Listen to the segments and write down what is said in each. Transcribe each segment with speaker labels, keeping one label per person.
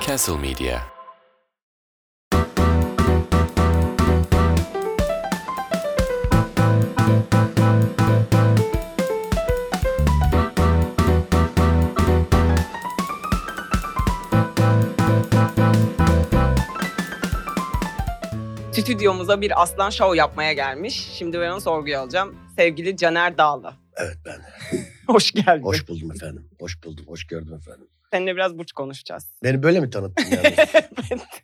Speaker 1: Castle Media.
Speaker 2: stüdyomuza bir aslan şov yapmaya gelmiş. Şimdi ben onu sorguya alacağım. Sevgili Caner Dağlı.
Speaker 3: Evet ben.
Speaker 2: Hoş geldin.
Speaker 3: Hoş buldum efendim. Hoş buldum. Hoş gördüm efendim.
Speaker 2: Seninle biraz burç konuşacağız.
Speaker 3: Beni böyle mi tanıttın yani?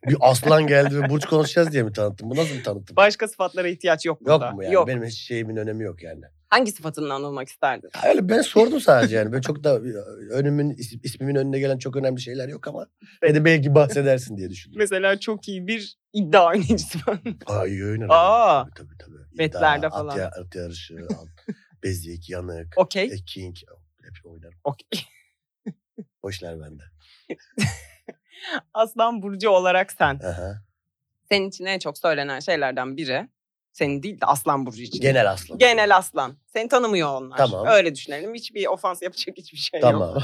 Speaker 3: bir aslan geldi ve burç konuşacağız diye mi tanıttın? Bu nasıl bir tanıtım?
Speaker 2: Başka sıfatlara ihtiyaç yok burada.
Speaker 3: Yok mu yani?
Speaker 2: Yok.
Speaker 3: Benim hiç şeyimin önemi yok yani.
Speaker 2: Hangi sıfatınla anılmak isterdin?
Speaker 3: Ya Öyle ben sordum sadece yani. Böyle çok da e, önümün, is- ismimin önüne gelen çok önemli şeyler yok ama ne de belki bahsedersin diye düşündüm.
Speaker 2: Mesela çok iyi bir iddia oynayıcısı falan.
Speaker 3: Aa iyi oynar.
Speaker 2: Aa.
Speaker 3: Tabii tabii. tabii.
Speaker 2: Betlerde
Speaker 3: İddia,
Speaker 2: falan.
Speaker 3: At, ya- at yarışı, at, bezik, yanık,
Speaker 2: Okey.
Speaker 3: e, king. Hep oynarım.
Speaker 2: Okey.
Speaker 3: O işler bende.
Speaker 2: Aslan Burcu olarak sen.
Speaker 3: Aha.
Speaker 2: Senin için en çok söylenen şeylerden biri. Senin değil de Aslan Burcu için.
Speaker 3: Genel aslan.
Speaker 2: Genel Aslan. Seni tanımıyor onlar.
Speaker 3: Tamam.
Speaker 2: Öyle düşünelim. Hiçbir ofans yapacak hiçbir şey yok.
Speaker 3: Tamam.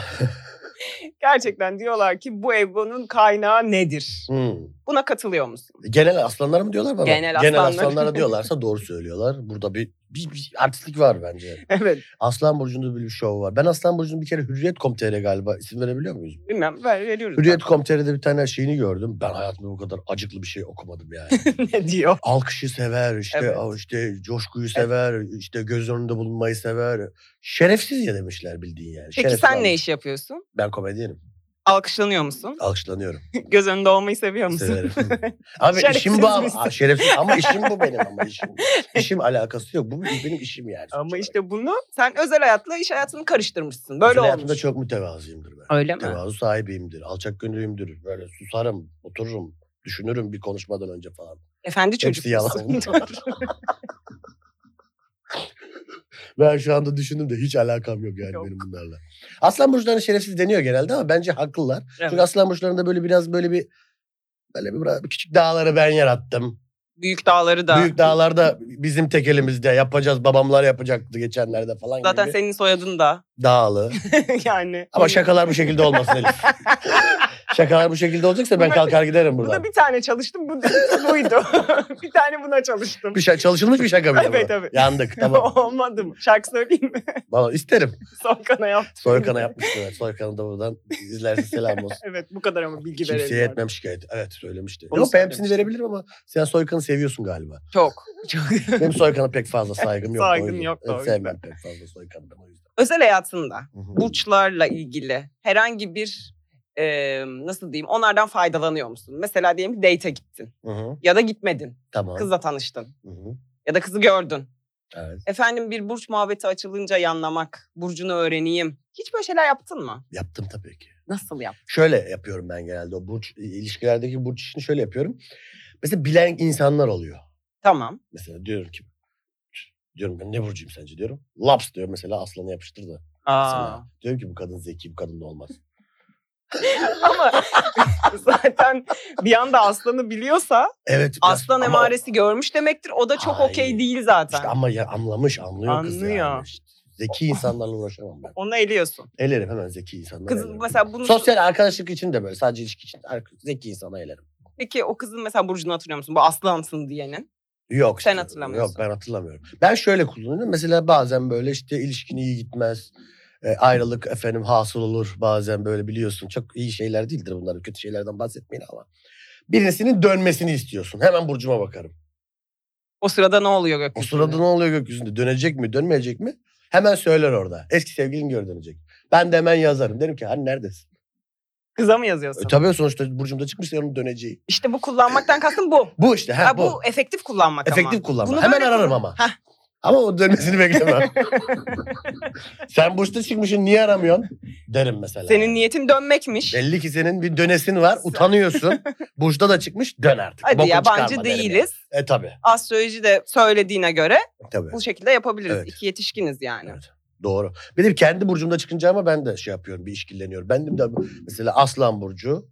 Speaker 2: Gerçekten diyorlar ki bu egonun kaynağı nedir?
Speaker 3: hmm.
Speaker 2: Buna katılıyor musun?
Speaker 3: Genel aslanlara mı diyorlar bana?
Speaker 2: Genel aslanlar.
Speaker 3: aslanlara diyorlarsa doğru söylüyorlar. Burada bir, bir, bir artistlik var bence.
Speaker 2: Evet.
Speaker 3: Aslan Burcu'nda böyle bir şov var. Ben Aslan Burcu'nun bir kere Hürriyet.com.tr galiba isim verebiliyor muyuz?
Speaker 2: Bilmem ver, veriyoruz.
Speaker 3: Hürriyet.com.tr'de bir tane şeyini gördüm. Ben hayatımda bu kadar acıklı bir şey okumadım yani.
Speaker 2: ne diyor?
Speaker 3: Alkışı sever, işte
Speaker 2: Evet.
Speaker 3: o işte coşkuyu sever, işte göz önünde bulunmayı sever. Şerefsiz ya demişler bildiğin yani.
Speaker 2: Peki
Speaker 3: Şerefsiz
Speaker 2: sen ne
Speaker 3: adam.
Speaker 2: iş yapıyorsun?
Speaker 3: Ben komedyenim.
Speaker 2: Alkışlanıyor musun?
Speaker 3: Alkışlanıyorum.
Speaker 2: Göz önünde olmayı seviyor musun?
Speaker 3: Severim. Abi
Speaker 2: Şerefsiz
Speaker 3: işim bu ama,
Speaker 2: misin?
Speaker 3: Aa, şerefsiz ama işim bu benim ama işim. bu. İşim alakası yok. Bu benim işim yani.
Speaker 2: Ama işte bunu sen özel hayatla iş hayatını karıştırmışsın. Böyle
Speaker 3: Özel
Speaker 2: olmuş.
Speaker 3: hayatımda çok mütevazıyımdır ben.
Speaker 2: Öyle mi?
Speaker 3: Tevazu sahibiyimdir. Alçak gönüllüyümdür. Böyle susarım, otururum, düşünürüm bir konuşmadan önce falan.
Speaker 2: Efendi çocuk.
Speaker 3: Hepsi yalan. Ben şu anda düşündüm de hiç alakam yok yani
Speaker 2: Yok.
Speaker 3: benim bunlarla. Aslan burçlarına şerefsiz deniyor genelde ama bence haklılar. Çünkü
Speaker 2: Evet.
Speaker 3: aslan burçlarında böyle biraz böyle bir böyle bir, bir küçük dağları ben yarattım.
Speaker 2: Büyük dağları da.
Speaker 3: Büyük dağlarda bizim tek elimizde yapacağız. Babamlar yapacaktı geçenlerde falan
Speaker 2: Zaten
Speaker 3: gibi.
Speaker 2: senin soyadın da.
Speaker 3: Dağlı.
Speaker 2: yani.
Speaker 3: Ama şakalar bu şekilde olmasın Elif. şakalar bu şekilde olacaksa ben kalkar giderim
Speaker 2: Burada
Speaker 3: buradan.
Speaker 2: bir tane çalıştım. Bu buydu. bir tane buna çalıştım.
Speaker 3: Bir şey, çalışılmış bir şaka bile bu.
Speaker 2: Evet, evet.
Speaker 3: Yandık tamam.
Speaker 2: Olmadı mı? Şarkı söyleyeyim mi?
Speaker 3: Vallahi isterim.
Speaker 2: Soykana yaptım.
Speaker 3: Soykan'a yapmışlar. Soykan'a da buradan izlerse selam olsun.
Speaker 2: Evet bu kadar ama bilgi verelim.
Speaker 3: Kimseye
Speaker 2: artık.
Speaker 3: etmem şikayet. Evet söylemişti.
Speaker 2: Onu
Speaker 3: Yok ben hepsini
Speaker 2: söylemişti.
Speaker 3: verebilirim ama sen Soykan'ı seviyorsun galiba.
Speaker 2: Çok. Çok.
Speaker 3: Benim Soykan'a pek fazla saygım yok.
Speaker 2: Saygın
Speaker 3: o yüzden.
Speaker 2: yok da o
Speaker 3: Evet, Sevmem pek fazla Soykan'ı ben o yüzden.
Speaker 2: özel hayatında
Speaker 3: Hı hı.
Speaker 2: burçlarla ilgili herhangi bir e, nasıl diyeyim onlardan faydalanıyor musun? Mesela diyelim ki date'e gittin
Speaker 3: Hı hı.
Speaker 2: ya da gitmedin.
Speaker 3: Tamam.
Speaker 2: Kızla tanıştın
Speaker 3: Hı hı.
Speaker 2: ya da kızı gördün.
Speaker 3: Evet.
Speaker 2: Efendim bir burç muhabbeti açılınca yanlamak, burcunu öğreneyim. Hiç böyle şeyler yaptın mı?
Speaker 3: Yaptım tabii ki.
Speaker 2: Nasıl yaptın?
Speaker 3: Şöyle yapıyorum ben genelde. O burç ilişkilerdeki burç işini şöyle yapıyorum. Mesela bilen insanlar oluyor.
Speaker 2: Tamam.
Speaker 3: Mesela diyorum ki diyorum ben ne burcuyum sence diyorum. Laps diyor mesela aslanı yapıştır da.
Speaker 2: Aa.
Speaker 3: Sana. Diyorum ki bu kadın zeki bu kadın da olmaz.
Speaker 2: Ama zaten bir anda aslanı biliyorsa
Speaker 3: Evet. biraz-
Speaker 2: aslan
Speaker 3: ama o-
Speaker 2: emaresi görmüş demektir. O da çok
Speaker 3: Hayır.
Speaker 2: okey değil zaten.
Speaker 3: İşte ama ya anlamış anlıyor kız yani.
Speaker 2: Anlıyor.
Speaker 3: İşte Zeki insanlarla uğraşamam ben.
Speaker 2: Onu eliyorsun.
Speaker 3: Elerim hemen zeki insanları
Speaker 2: Kız
Speaker 3: elerim.
Speaker 2: mesela bunu
Speaker 3: Sosyal arkadaşlık için de böyle sadece ilişki için ark- zeki insana elerim.
Speaker 2: peki o kızın mesela burcunu hatırlıyor musun? Bu aslansın diyenin.
Speaker 3: Yok.
Speaker 2: Sen
Speaker 3: işte,
Speaker 2: hatırlamıyorsun.
Speaker 3: Yok ben hatırlamıyorum. Ben şöyle kullanıyorum. Mesela bazen böyle işte ilişkin iyi gitmez. e, ayrılık efendim hasıl olur bazen böyle biliyorsun. Çok iyi şeyler değildir bunlar. Kötü şeylerden bahsetmeyin ama. Birisinin dönmesini istiyorsun. Hemen burcuma bakarım.
Speaker 2: O sırada ne oluyor
Speaker 3: O
Speaker 2: gökyüzünde?
Speaker 3: sırada ne oluyor gökyüzünde? Dönecek mi, dönmeyecek mi? Hemen söyler orada. Eski sevgilin geri dönecek. Ben de hemen yazarım. Derim ki hani neredesin?
Speaker 2: Kıza mı
Speaker 3: E,
Speaker 2: yazıyorsun?
Speaker 3: tabii sonuçta burcumda çıkmışsa onun döneceği.
Speaker 2: İşte bu kullanmaktan kastım bu.
Speaker 3: Bu işte. Ha,
Speaker 2: ha, bu.
Speaker 3: bu.
Speaker 2: efektif kullanmak ama.
Speaker 3: Efektif kullanma.
Speaker 2: Bunu
Speaker 3: hemen
Speaker 2: böyle
Speaker 3: ararım
Speaker 2: kullan-
Speaker 3: ama.
Speaker 2: Heh.
Speaker 3: Ama o dönmesini beklemem. Sen burçta çıkmışsın niye aramıyorsun? Derim mesela.
Speaker 2: Senin niyetin dönmekmiş.
Speaker 3: Belli ki senin bir dönesin var. Utanıyorsun. Burçta da çıkmış dön artık.
Speaker 2: Hadi
Speaker 3: Bokun
Speaker 2: ya
Speaker 3: çıkarma
Speaker 2: bancı
Speaker 3: derim
Speaker 2: değiliz.
Speaker 3: yani. E tabii.
Speaker 2: Astroloji de söylediğine göre
Speaker 3: tabii.
Speaker 2: bu şekilde yapabiliriz.
Speaker 3: Evet.
Speaker 2: İki yetişkiniz yani.
Speaker 3: Evet. Doğru. Benim kendi burcumda çıkınca ama ben de şey yapıyorum. Bir işkilleniyorum. Benim de mesela Aslan Burcu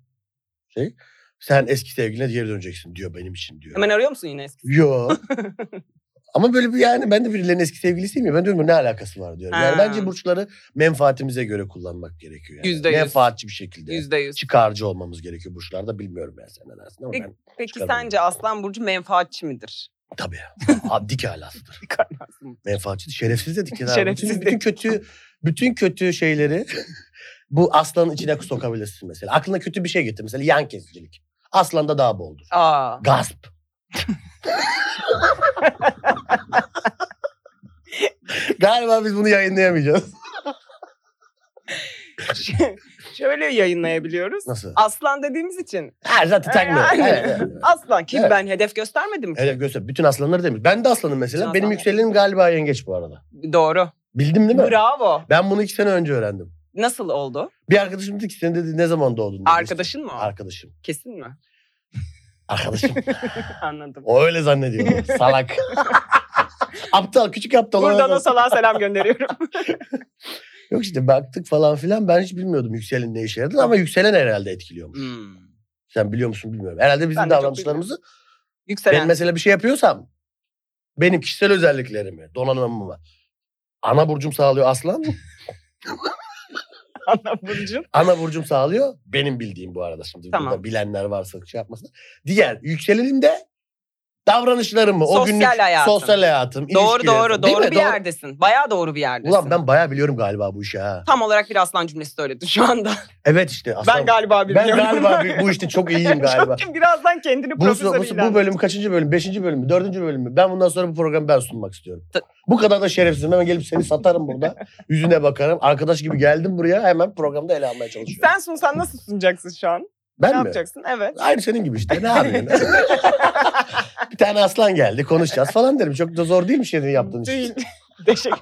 Speaker 3: şey sen eski sevgiline geri döneceksin diyor benim için diyor.
Speaker 2: Hemen arıyor musun yine eski?
Speaker 3: Yo. Ama böyle bir yani ben de birilerinin eski sevgilisiyim ya. Ben diyorum ne alakası var diyorum. Yani
Speaker 2: Ha.
Speaker 3: bence burçları menfaatimize göre kullanmak gerekiyor. Yani.
Speaker 2: Yüzde yüz.
Speaker 3: Menfaatçi bir şekilde.
Speaker 2: Yüzde yüz.
Speaker 3: Çıkarcı olmamız gerekiyor burçlarda. Bilmiyorum ben sen ne dersin ama
Speaker 2: Peki-
Speaker 3: ben
Speaker 2: Peki
Speaker 3: çıkarım.
Speaker 2: sence Aslan Burcu menfaatçi midir?
Speaker 3: tabii. Abi, dik alastır.
Speaker 2: Karnasın.
Speaker 3: Menfaatçi. Şerefsiz dedik ya.
Speaker 2: Şerefsiz
Speaker 3: bütün, bütün kötü bütün kötü şeyleri bu aslanın içine sokabilirsin mesela. Aklına kötü bir şey getir. Mesela yan kesicilik. Aslanda daha boldur.
Speaker 2: Aa.
Speaker 3: Gasp. Galiba biz bunu yayınlayamayacağız.
Speaker 2: Şöyle yayınlayabiliyoruz.
Speaker 3: Nasıl?
Speaker 2: Aslan dediğimiz için.
Speaker 3: Ha, zaten takmıyor.
Speaker 2: Yani.
Speaker 3: Evet, evet, evet.
Speaker 2: Aslan ki
Speaker 3: Evet.
Speaker 2: ben hedef göstermedim ki.
Speaker 3: Evet, göster. Bütün aslanları demiş. Ben de aslanım mesela.
Speaker 2: Bütün
Speaker 3: Benim
Speaker 2: aslanlar.
Speaker 3: yükselenim galiba yengeç bu arada.
Speaker 2: Doğru.
Speaker 3: Bildim değil mi?
Speaker 2: Bravo.
Speaker 3: Ben bunu iki sene önce öğrendim.
Speaker 2: Nasıl oldu?
Speaker 3: Bir arkadaşım dedi ki sen dedi ne zaman doğdun? dedi.
Speaker 2: Arkadaşın mı o?
Speaker 3: Arkadaşım.
Speaker 2: Kesin mi?
Speaker 3: Arkadaşım.
Speaker 2: Anladım.
Speaker 3: o öyle zannediyor. Salak. aptal küçük aptal.
Speaker 2: Buradan
Speaker 3: Oradan-
Speaker 2: o salağa selam gönderiyorum.
Speaker 3: Yok işte baktık falan filan ben hiç bilmiyordum yükselenin ne işe yaradığını ama yükselen herhalde etkiliyormuş.
Speaker 2: Hmm.
Speaker 3: Sen biliyor musun bilmiyorum. Herhalde bizim
Speaker 2: Ben de çok
Speaker 3: davranışlarımızı ben
Speaker 2: Yükselen.
Speaker 3: mesela bir şey yapıyorsam benim kişisel özelliklerimi, donanımımı ana burcum sağlıyor aslan.
Speaker 2: Aslan Burcu.
Speaker 3: ana burcum sağlıyor. Benim bildiğim bu arada şimdi
Speaker 2: Tamam.
Speaker 3: burada bilenler varsa şey yapmasın. Diğer yükselenim de davranışlarımı, o
Speaker 2: Sosyal
Speaker 3: günlük
Speaker 2: hayatım.
Speaker 3: sosyal hayatım,
Speaker 2: Doğru
Speaker 3: ilişkilerim-
Speaker 2: doğru.
Speaker 3: Değil
Speaker 2: Doğru
Speaker 3: mi?
Speaker 2: bir yerdesin. Bayağı doğru bir yerdesin.
Speaker 3: Ulan ben bayağı biliyorum galiba bu işi ha.
Speaker 2: Tam olarak bir aslan cümlesi söyledin şu anda.
Speaker 3: Evet işte aslan.
Speaker 2: Ben galiba
Speaker 3: ben
Speaker 2: bilmiyorum.
Speaker 3: galiba bu- bu işte çok iyiyim galiba.
Speaker 2: Çok birazdan kendini
Speaker 3: Bu, bu,
Speaker 2: profesör
Speaker 3: bu
Speaker 2: ilan.
Speaker 3: bölüm kaçıncı bölüm? Beşinci bölüm mü? Dördüncü bölüm mü? Ben bundan sonra bu programı ben sunmak istiyorum.
Speaker 2: Ta-
Speaker 3: Bu kadar da şerefsizim. Hemen gelip seni satarım burada. Yüzüne bakarım. Arkadaş gibi geldim buraya. Hemen programda ele almaya çalışıyorum.
Speaker 2: Sen sunsan nasıl sunacaksın şu an?
Speaker 3: ben
Speaker 2: ne
Speaker 3: mi?
Speaker 2: yapacaksın? Evet.
Speaker 3: Aynı senin gibi işte. Ne yapıyorsun? bir tane aslan geldi. Konuşacağız falan derim. Çok da zor değilmiş senin yaptığın iş.
Speaker 2: Değil. Teşekkür.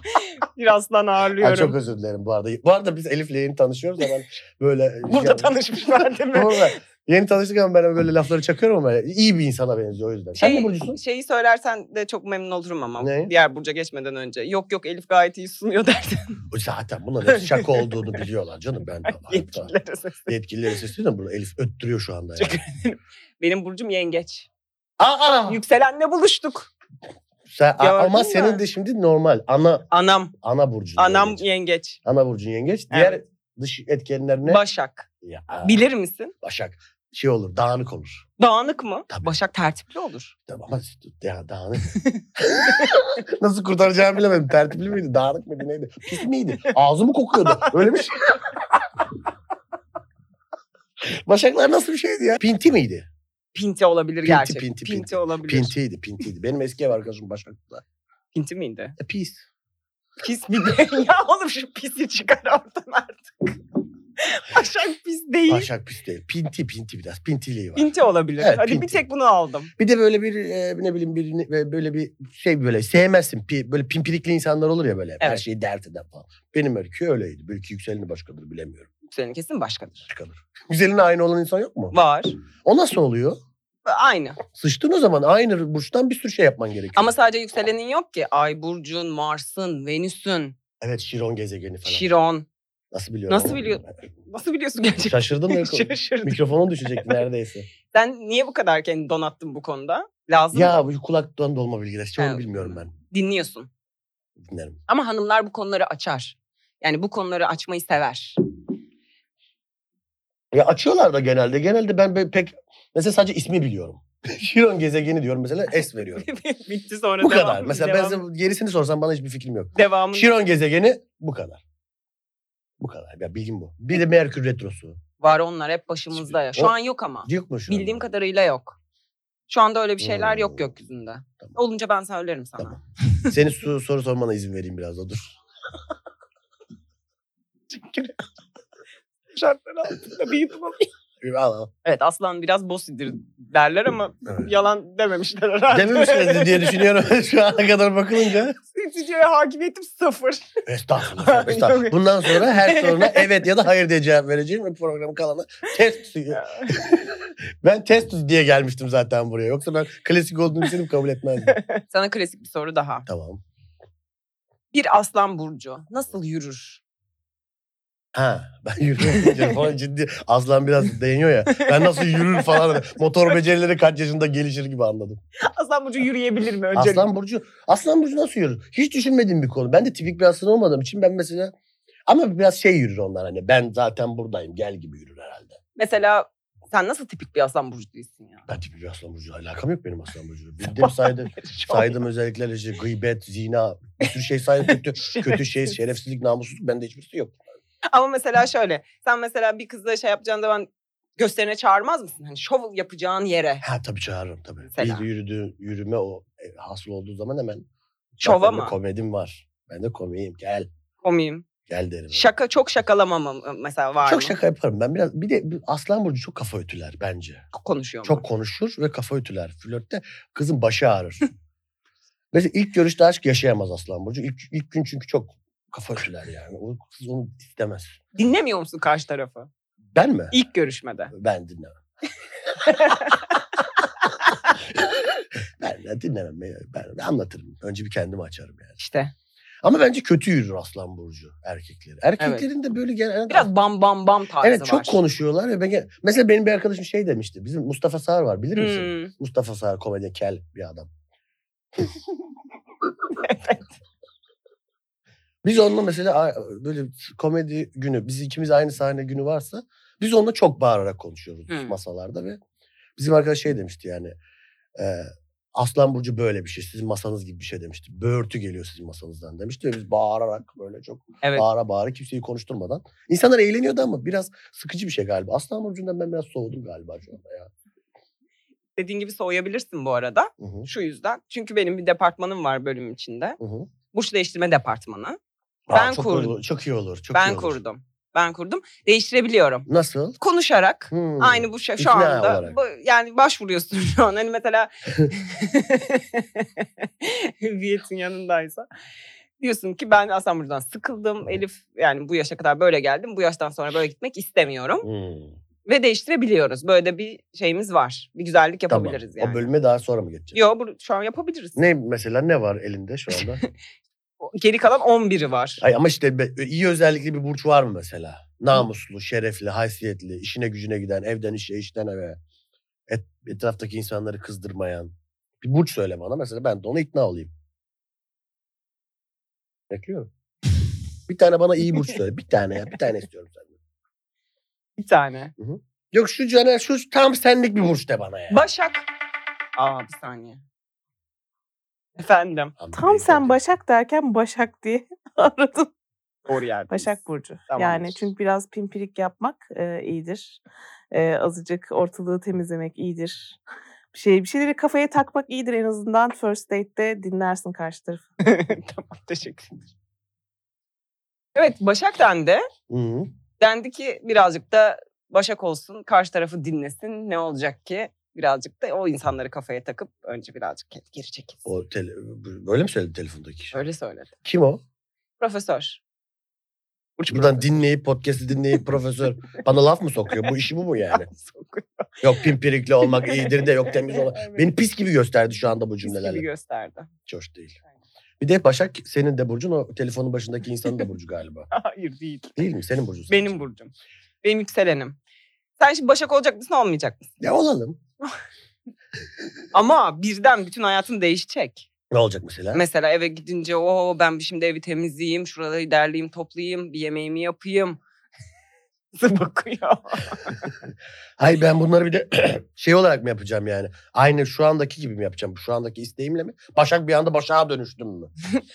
Speaker 2: Bir aslan
Speaker 3: Ay,
Speaker 2: ağırlıyorum.
Speaker 3: çok özür dilerim bu arada. Bu arada biz Elif'le yeni tanışıyoruz. Hemen böyle... şey
Speaker 2: Burada tanışmışlar değil mi?
Speaker 3: Burada. Yeni tanıştık ama ben hemen böyle lafları çakıyorum ama iyi bir insana benziyor o yüzden.
Speaker 2: Şey,
Speaker 3: Sen ne burcusun?
Speaker 2: Şeyi söylersen de çok memnun olurum ama.
Speaker 3: Ne?
Speaker 2: Diğer Burcu'ya geçmeden önce. Yok yok Elif gayet iyi sunuyor dersin.
Speaker 3: Zaten bunların hepsi şaka olduğunu biliyorlar canım ben de.
Speaker 2: Yetkililere seslen.
Speaker 3: Yetkilileri sesleniyorum burada Elif öttürüyor şu anda yani.
Speaker 2: Çok- Benim Burcum yengeç.
Speaker 3: Aa!
Speaker 2: Yükselenle buluştuk.
Speaker 3: Sen, a-
Speaker 2: Gördün
Speaker 3: ama
Speaker 2: mü?
Speaker 3: senin de şimdi normal ana
Speaker 2: Anam.
Speaker 3: ana burcun.
Speaker 2: Anam
Speaker 3: yengeç.
Speaker 2: yengeç.
Speaker 3: Ana burcun yengeç.
Speaker 2: Evet.
Speaker 3: Diğer dış etkenler ne?
Speaker 2: Başak.
Speaker 3: Ya,
Speaker 2: Bilir misin?
Speaker 3: Başak. Şey olur dağınık olur.
Speaker 2: Dağınık mı?
Speaker 3: Tabii.
Speaker 2: Başak tertipli olur.
Speaker 3: Tamam, Ama ya dağınık. Nasıl kurtaracağımı bilemedim. Tertipli miydi? Dağınık mıydı? Neydi? Pis miydi? Ağzı mı kokuyordu? Öyle bir şey. Başaklar nasıl bir şeydi ya? Pinti miydi?
Speaker 2: Pinti olabilir
Speaker 3: Pinti,
Speaker 2: gerçekten.
Speaker 3: pinti,
Speaker 2: Pinti,
Speaker 3: pinti.
Speaker 2: olabilir. Pinti.
Speaker 3: Pintiydi, pintiydi. Benim eski ev arkadaşım Başak'ta.
Speaker 2: miydi?
Speaker 3: E, pis.
Speaker 2: Pis bir de. ya oğlum şu pisi çıkar oradan artık. Başak pis değil.
Speaker 3: Başak pis değil. Pinti, pinti biraz. Pintiliği var.
Speaker 2: Pinti olabilir.
Speaker 3: Evet,
Speaker 2: Hadi
Speaker 3: pinti.
Speaker 2: bir tek bunu aldım.
Speaker 3: Bir de böyle bir e, ne bileyim bir ne- böyle bir şey böyle sevmezsin. Pi- böyle pimpirikli insanlar olur ya böyle. Her
Speaker 2: Evet.
Speaker 3: şeyi dert eder falan. Benim öykü öyleydi. Belki yükseleni başkadır bilemiyorum.
Speaker 2: Senin kesin başkadır.
Speaker 3: Başkadır. Güzeline aynı olan insan yok mu?
Speaker 2: Var.
Speaker 3: O nasıl oluyor?
Speaker 2: Aynı.
Speaker 3: Sıçtığın o zaman aynı burçtan bir sürü şey yapman gerekiyor.
Speaker 2: Ama sadece yükselenin yok ki. Ay Burcu'nun, Mars'ın, Venüs'ün,
Speaker 3: Evet Şiron gezegeni falan.
Speaker 2: Şiron.
Speaker 3: Nasıl biliyorum?
Speaker 2: Nasıl biliyor- Nasıl biliyorsun gerçekten?
Speaker 3: Şaşırdın mı?
Speaker 2: Şaşırdım.
Speaker 3: Mikrofonun düşecekti neredeyse.
Speaker 2: Sen niye bu kadar kendini donattın bu konuda? Lazım.
Speaker 3: ya bu kulaktan dolma bilgiler. Hiç onu
Speaker 2: Evet.
Speaker 3: bilmiyorum ben.
Speaker 2: Dinliyorsun.
Speaker 3: Dinlerim.
Speaker 2: Ama hanımlar bu konuları açar. Yani bu konuları açmayı sever.
Speaker 3: Ya açıyorlar da genelde. Genelde ben be- pek mesela sadece ismi biliyorum. Şiron gezegeni diyorum mesela S veriyorum.
Speaker 2: Bitti sonra
Speaker 3: bu
Speaker 2: devam.
Speaker 3: kadar. Mesela ben
Speaker 2: devam.
Speaker 3: size gerisini sorsam bana hiçbir fikrim yok.
Speaker 2: Devamını
Speaker 3: Şiron gezegeni bu kadar. Bu kadar. Ya bilgim bu. Bir de Merkür retrosu.
Speaker 2: var onlar hep başımızda ya. Şu
Speaker 3: O-
Speaker 2: an yok ama.
Speaker 3: şey Yok mu şu an?
Speaker 2: Bildiğim kadarıyla yok. Şu anda öyle bir şeyler
Speaker 3: Hmm.
Speaker 2: yok gökyüzünde.
Speaker 3: Tamam.
Speaker 2: Olunca ben söylerim sana.
Speaker 3: Tamam. Seni su- soru sormana izin vereyim biraz da dur.
Speaker 2: Şartlar altında büyütüm
Speaker 3: Al, al.
Speaker 2: Evet aslan biraz bosidir derler ama
Speaker 3: Evet.
Speaker 2: yalan dememişler herhalde.
Speaker 3: Dememişlerdi diye düşünüyorum şu ana kadar bakılınca.
Speaker 2: Stüdyoya hakimiyetim sıfır.
Speaker 3: Estağfurullah. estağfurullah.
Speaker 2: Yok.
Speaker 3: Bundan sonra her soruna evet ya da hayır diye cevap vereceğim ve programın kalanı test. ben test diye gelmiştim zaten buraya. Yoksa ben klasik olduğunu düşünüp kabul etmezdim.
Speaker 2: Sana klasik bir soru daha.
Speaker 3: tamam.
Speaker 2: Bir aslan burcu nasıl yürür?
Speaker 3: Ha ben yürüyorum falan ciddi. Aslan biraz değiniyor ya. Ben nasıl yürür falan. Motor becerileri kaç yaşında gelişir gibi anladım.
Speaker 2: Aslan Burcu yürüyebilir mi önce?
Speaker 3: Aslan Burcu, Aslan Burcu nasıl yürür? Hiç düşünmediğim bir konu. Ben de tipik bir aslan olmadığım için ben mesela ama biraz şey yürür onlar hani ben zaten buradayım gel gibi yürür herhalde.
Speaker 2: Mesela sen nasıl tipik bir Aslan Burcu değilsin ya?
Speaker 3: Ben tipik bir aslan burcu alakam yok benim aslan burcu. Bildiğim saydım, saydım özellikler işte gıybet, zina, bir sürü şey saydım kötü, kötü şey, şerefsizlik, namussuzluk bende hiçbirisi yok.
Speaker 2: Ama mesela şöyle. Sen mesela bir kızla şey yapacağında ben gösterine çağırmaz mısın? Hani şov yapacağın yere.
Speaker 3: Ha tabii çağırırım tabii.
Speaker 2: Mesela.
Speaker 3: İyi yürüdü, yürüme o e, hasıl olduğu zaman hemen.
Speaker 2: Şova
Speaker 3: "Bak, benim de
Speaker 2: mı?"
Speaker 3: Komedim var. Ben de komiyim gel.
Speaker 2: Komiyim.
Speaker 3: Gel derim.
Speaker 2: Şaka çok şakalamam mesela var
Speaker 3: çok
Speaker 2: mı?
Speaker 3: şaka yaparım ben biraz. Bir de bir- Aslan Burcu çok kafa ötüler bence.
Speaker 2: konuşuyor mu?
Speaker 3: Çok konuşur ve kafa ötüler. Flörtte kızın başı ağrır. Mesela ilk görüşte aşk yaşayamaz Aslan Burcu. İlk, ilk gün çünkü çok kafa ötüler yani. O kız onu istemez.
Speaker 2: Dinlemiyor musun karşı tarafı?
Speaker 3: Ben mi?
Speaker 2: İlk görüşmede.
Speaker 3: Ben dinlemem. ben de dinlemem. Ben, ben anlatırım. Önce bir kendimi açarım yani.
Speaker 2: İşte.
Speaker 3: Ama bence kötü yürür Aslan Burcu erkekleri. Erkeklerin de böyle genel...
Speaker 2: Biraz bam bam bam tarzı
Speaker 3: Evet çok
Speaker 2: var.
Speaker 3: konuşuyorlar. Ve ben, mesela benim bir arkadaşım şey demişti. Bizim Mustafa Sağır var bilir misin?
Speaker 2: Hmm.
Speaker 3: Mustafa Sağır komedyen kel bir adam. Biz onunla mesela a- böyle komedi günü, biz ikimiz aynı sahne günü varsa biz onunla çok bağırarak konuşuyoruz
Speaker 2: Hmm.
Speaker 3: masalarda ve bizim arkadaş şey demişti yani e, Aslan Burcu böyle bir şey, sizin masanız gibi bir şey demişti. Böğürtü geliyor sizin masanızdan demişti ve biz bağırarak böyle çok
Speaker 2: Evet.
Speaker 3: bağıra bağıra kimseyi konuşturmadan. İnsanlar eğleniyordu ama biraz sıkıcı bir şey galiba. Aslan Burcu'ndan ben biraz soğudum galiba şu anda ya.
Speaker 2: Dediğin gibi soğuyabilirsin bu arada.
Speaker 3: Hı hı,
Speaker 2: Şu yüzden. Çünkü benim bir departmanım var bölüm içinde.
Speaker 3: hı hı.
Speaker 2: Burç değiştirme departmanı.
Speaker 3: Aa,
Speaker 2: Ben
Speaker 3: çok
Speaker 2: kurdum.
Speaker 3: iyi olur, çok iyi olur. Çok iyi
Speaker 2: ben
Speaker 3: olur.
Speaker 2: kurdum. Ben kurdum. Değiştirebiliyorum.
Speaker 3: Nasıl?
Speaker 2: Konuşarak.
Speaker 3: Hmm.
Speaker 2: Aynı bu şey şu
Speaker 3: İkna
Speaker 2: anda.
Speaker 3: olarak.
Speaker 2: bu- yani başvuruyorsun şu an. Hani mesela hüviyetin yanındaysa. Diyorsun ki ben Aslan Burcu'dan sıkıldım. Elif yani bu yaşa kadar böyle geldim. Bu yaştan sonra böyle gitmek istemiyorum.
Speaker 3: Hmm.
Speaker 2: Ve değiştirebiliyoruz. Böyle de bir şeyimiz var. Bir güzellik
Speaker 3: Tamam.
Speaker 2: yapabiliriz yani.
Speaker 3: O bölüme daha sonra mı geçeceğiz?
Speaker 2: Yo bu, şu an yapabiliriz.
Speaker 3: Ne mesela ne var elinde şu anda?
Speaker 2: O- Geri kalan 11'i var.
Speaker 3: Ay ama işte be- iyi özellikli bir burç var mı mesela? Namuslu, şerefli, haysiyetli, işine gücüne giden, evden işe, işten eve, et, etraftaki insanları kızdırmayan. Bir burç söyle bana mesela ben de ona ikna olayım. Bekliyorum. Bir tane bana iyi burç söyle. Bir tane ya. Bir tane istiyorum senden.
Speaker 2: Bir tane.
Speaker 3: Yok şu Caner şu tam senlik bir burç de bana ya.
Speaker 2: Başak. Aa bir saniye. Efendim.
Speaker 3: Tam
Speaker 4: Tam
Speaker 3: bir-
Speaker 4: sen Başak derken Başak diye aradım.
Speaker 2: Doğru yerdeyiz.
Speaker 4: Başak Burcu.
Speaker 2: Tamamdır.
Speaker 4: Yani çünkü biraz pimpirik yapmak e, iyidir. E, azıcık ortalığı temizlemek iyidir. Bir şey bir şeyleri kafaya takmak iyidir en azından first date'te dinlersin karşı tarafı.
Speaker 2: tamam teşekkür ederim. Evet Başak dendi.
Speaker 3: Hı.
Speaker 2: Dendi ki birazcık da Başak olsun. Karşı tarafı dinlesin. Ne olacak ki? Birazcık da o insanları kafaya takıp önce birazcık geri çekilsin.
Speaker 3: O tele- b- böyle mi söyledi telefondaki? kişi?
Speaker 2: Öyle söyledi.
Speaker 3: Kim o?
Speaker 2: Profesör. Uç
Speaker 3: Buradan dinleyip podcast'i dinleyip profesör bana laf mı sokuyor? Bu işi bu mu yani?
Speaker 2: profesör.
Speaker 3: Yok pimpirikli olmak iyidir de yok temiz olmak.
Speaker 2: Evet.
Speaker 3: Beni pis gibi gösterdi şu anda bu
Speaker 2: Pis gibi
Speaker 3: cümlelerle.
Speaker 2: gösterdi.
Speaker 3: Hiç hoş değil. Bir de Başak senin de burcun o telefonun başındaki insanın da burcu galiba.
Speaker 2: Hayır değil.
Speaker 3: Değil mi? Senin burcun. sadece.
Speaker 2: Benim burcum. Benim yükselenim. Sen şimdi Başak olacak mısın olmayacak mısın?
Speaker 3: Ya olalım.
Speaker 2: Ama birden bütün hayatın değişecek.
Speaker 3: Ne olacak mesela?
Speaker 2: Mesela eve gidince o ben şimdi evi temizleyeyim, şuraları derleyeyim, toplayayım, bir yemeğimi yapayım. Nasıl bakıyor?
Speaker 3: Hayır ben bunları bir de şey olarak mı yapacağım yani? Aynı şu andaki gibi mi yapacağım? Şu andaki isteğimle mi? Başak bir anda Başak'a dönüştüm mü?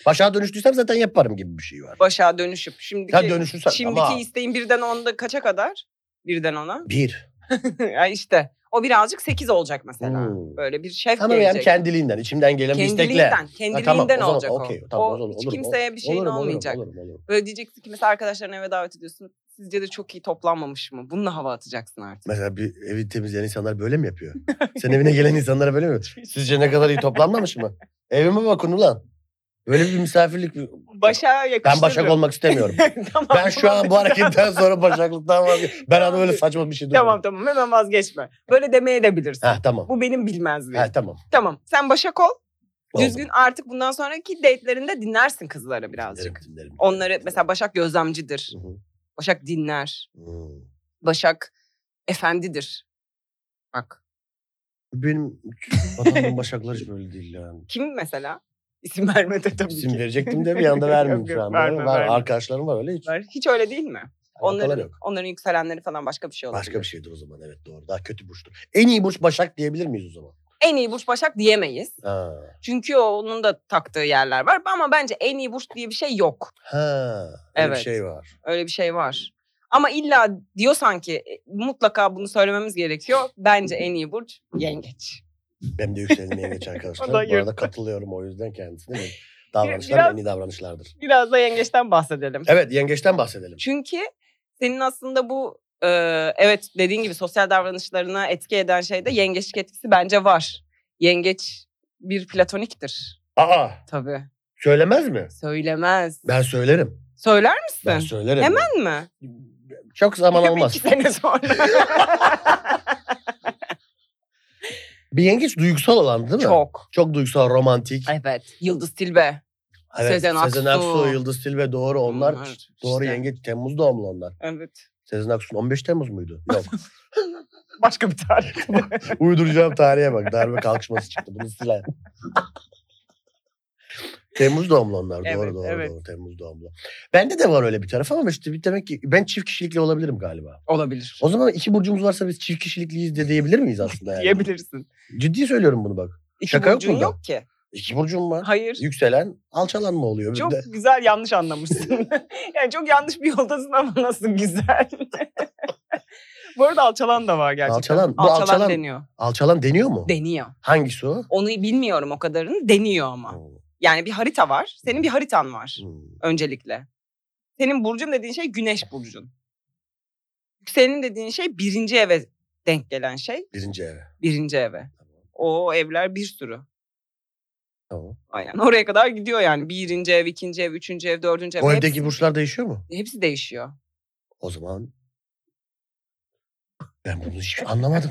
Speaker 3: Başak'a dönüştüysem zaten yaparım gibi bir şey var.
Speaker 2: Başa dönüşüp şimdiki
Speaker 3: Ya dönüşürsen
Speaker 2: şimdiki
Speaker 3: ama-
Speaker 2: isteğin birden onda kaça kadar? Birden ona.
Speaker 3: Bir.
Speaker 2: ya işte o birazcık 8 olacak mesela.
Speaker 3: Hmm.
Speaker 2: Böyle bir şef
Speaker 3: Tamam yani
Speaker 2: gelecek.
Speaker 3: kendiliğinden, içimden gelen bir istekle.
Speaker 2: kendiliğinden,
Speaker 3: Ha,
Speaker 2: kendiliğinden
Speaker 3: tamam, o zaman
Speaker 2: olacak
Speaker 3: okey,
Speaker 2: o.
Speaker 3: tamam,
Speaker 2: o
Speaker 3: o zaman
Speaker 2: hiç
Speaker 3: olurum,
Speaker 2: kimseye bir şeyin
Speaker 3: olurum, olurum,
Speaker 2: olmayacak.
Speaker 3: Olurum, olurum.
Speaker 2: Böyle diyeceksin ki mesela arkadaşlarını eve davet ediyorsun. Sizce de çok iyi toplanmamış mı? Bununla hava atacaksın artık.
Speaker 3: Mesela bir evi temizleyen insanlar böyle mi yapıyor? Senin evine gelen insanlara böyle mi yapıyor? Sizce ne kadar iyi toplanmamış mı? Evime bakın ulan. Böyle bir misafirlik.
Speaker 2: Başa yakıştırırım.
Speaker 3: Ben Başak olmak istemiyorum.
Speaker 2: Tamam,
Speaker 3: Ben şu
Speaker 2: tamam.
Speaker 3: an bu hareketten sonra Başaklıktan vazgeçtim. Ben adama öyle saçma bir şey demedim.
Speaker 2: Tamam tamam hemen vazgeçme. Böyle demeye de bilirsin.
Speaker 3: Ha tamam.
Speaker 2: Bu benim bilmezliğim.
Speaker 3: Ha tamam.
Speaker 2: Tamam sen Başak ol.
Speaker 3: Oldu.
Speaker 2: Düzgün artık bundan sonraki date'lerinde dinlersin kızları birazcık.
Speaker 3: Dinlerim, dinlerim.
Speaker 2: Onları mesela Başak gözlemcidir.
Speaker 3: Hı hı.
Speaker 2: Başak dinler.
Speaker 3: Hmm.
Speaker 2: Başak efendidir. Bak.
Speaker 3: Benim adamın başakları hiç böyle değil yani.
Speaker 2: Kim mesela? İsim vermedi tabii
Speaker 3: İsim
Speaker 2: ki.
Speaker 3: verecektim de bir anda vermeyeyim
Speaker 2: Yok,
Speaker 3: şu
Speaker 2: yok,
Speaker 3: an.
Speaker 2: verme,
Speaker 3: var,
Speaker 2: verme.
Speaker 3: arkadaşlarım var öyle hiç.
Speaker 2: Var. Hiç öyle değil mi?
Speaker 3: Alakaları
Speaker 2: Onların,
Speaker 3: yok.
Speaker 2: onların yükselenleri falan başka bir şey olabilir.
Speaker 3: Başka bir şeydir o zaman evet doğru. Daha kötü burçtur. En iyi burç Başak diyebilir miyiz o zaman?
Speaker 2: En iyi burç Başak diyemeyiz.
Speaker 3: Ha.
Speaker 2: Çünkü onun da taktığı yerler var. Ama bence en iyi burç diye bir şey yok.
Speaker 3: Ha. Öyle
Speaker 2: Evet.
Speaker 3: bir şey var.
Speaker 2: Öyle bir şey var. Ama illa diyor sanki e, mutlaka bunu söylememiz gerekiyor. Bence en iyi burç yengeç.
Speaker 3: Benim de yükselmeye geç arkadaşlar.
Speaker 2: O
Speaker 3: Bu
Speaker 2: da
Speaker 3: arada katılıyorum o yüzden kendisine. Benim Davranışlar
Speaker 2: biraz-
Speaker 3: en iyi davranışlardır.
Speaker 2: Biraz da yengeçten bahsedelim.
Speaker 3: Evet yengeçten bahsedelim.
Speaker 2: Çünkü senin aslında bu e, evet dediğin gibi sosyal davranışlarına etki eden şeyde yengeçlik etkisi bence var. Yengeç bir platoniktir
Speaker 3: Aa
Speaker 2: tabii.
Speaker 3: söylemez mi?
Speaker 2: Söylemez.
Speaker 3: Ben söylerim.
Speaker 2: Söyler
Speaker 3: Ben
Speaker 2: misin?
Speaker 3: söylerim.
Speaker 2: Hemen mi?
Speaker 3: Çok zaman
Speaker 2: Tabii
Speaker 3: almaz.
Speaker 2: iki sene sonra.
Speaker 3: Bir yengeç duygusal olan değil mi?
Speaker 2: Çok.
Speaker 3: Çok duygusal, romantik.
Speaker 2: Evet. Yıldız Tilbe. Sezen
Speaker 3: Sezen
Speaker 2: Aksu.
Speaker 3: Aksu, Yıldız Tilbe doğru onlar. doğru
Speaker 2: işte.
Speaker 3: yengeç Temmuz doğumlu onlar.
Speaker 2: Evet.
Speaker 3: Sezen Aksu'nun 15 Temmuz muydu? Yok.
Speaker 2: Başka bir tarih.
Speaker 3: Uyduracağım tarihe bak. Darbe kalkışması çıktı. Bunu silah. Temmuz doğumlu onlar.
Speaker 2: Evet,
Speaker 3: doğru doğru
Speaker 2: evet.
Speaker 3: doğru. Temmuz doğumlu. Bende de var öyle bir taraf ama işte bir- demek ki ben çift kişilikli olabilirim galiba.
Speaker 2: Olabilir.
Speaker 3: O zaman iki burcumuz varsa biz çift kişilikliyiz de diyebilir miyiz aslında yani?
Speaker 2: Diyebilirsin.
Speaker 3: Ciddi söylüyorum bunu bak.
Speaker 2: İki
Speaker 3: Şaka yok
Speaker 2: burcun
Speaker 3: bunda.
Speaker 2: yok ki.
Speaker 3: İki burcum var.
Speaker 2: Hayır.
Speaker 3: Yükselen alçalan mı oluyor? Bir
Speaker 2: Çok
Speaker 3: de-
Speaker 2: güzel yanlış anlamışsın. yani çok yanlış bir yoldasın ama nasıl güzel. Bu arada alçalan da var gerçekten.
Speaker 3: Alçalan, bu
Speaker 2: alçalan,
Speaker 3: alçalan-
Speaker 2: deniyor.
Speaker 3: Alçalan deniyor mu?
Speaker 2: Deniyor.
Speaker 3: Hangisi o?
Speaker 2: Onu bilmiyorum o kadarını. Deniyor ama.
Speaker 3: Hmm,
Speaker 2: Yani bir harita var. Senin bir haritan var
Speaker 3: hmm.
Speaker 2: öncelikle. Senin burcun dediğin şey güneş burcun. Senin dediğin şey birinci eve denk gelen şey.
Speaker 3: Birinci eve.
Speaker 2: Birinci eve. O evler bir sürü.
Speaker 3: Tamam.
Speaker 2: Aynen oraya kadar gidiyor yani. Birinci ev, ikinci ev, üçüncü ev, dördüncü ev.
Speaker 3: O
Speaker 2: Hepsi-
Speaker 3: evdeki burçlar değişiyor mu?
Speaker 2: hepsi değişiyor.
Speaker 3: O zaman ben bunu hiç anlamadım.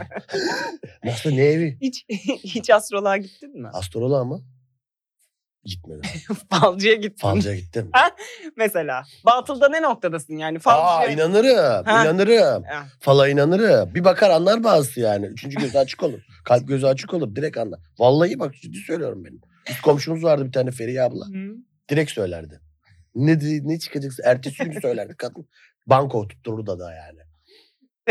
Speaker 3: Nasıl ne evi?
Speaker 2: Hiç hiç astroloğa gittin mi?
Speaker 3: Astroloğa mı? Gitmedim.
Speaker 2: Falcıya gittin.
Speaker 3: Falcıya gittim.
Speaker 2: Mesela. Batılda ne noktadasın yani?
Speaker 3: Aa
Speaker 2: Falcıya. Eh,
Speaker 3: inanırım,
Speaker 2: Ha.
Speaker 3: inanırım.
Speaker 2: Ha.
Speaker 3: Fala inanırım. Bir bakar anlar bazısı yani. Üçüncü gözü açık olur. Kalp gözü açık olur. Direkt anlar. Vallahi bak ciddi söylüyorum benim. Bir komşumuz vardı bir tane Feriye abla.
Speaker 2: Hı.
Speaker 3: Direkt söylerdi. Ne, di- ne çıkacaksa ertesi gün söylerdi kadın. Banko tutturdu da daha yani.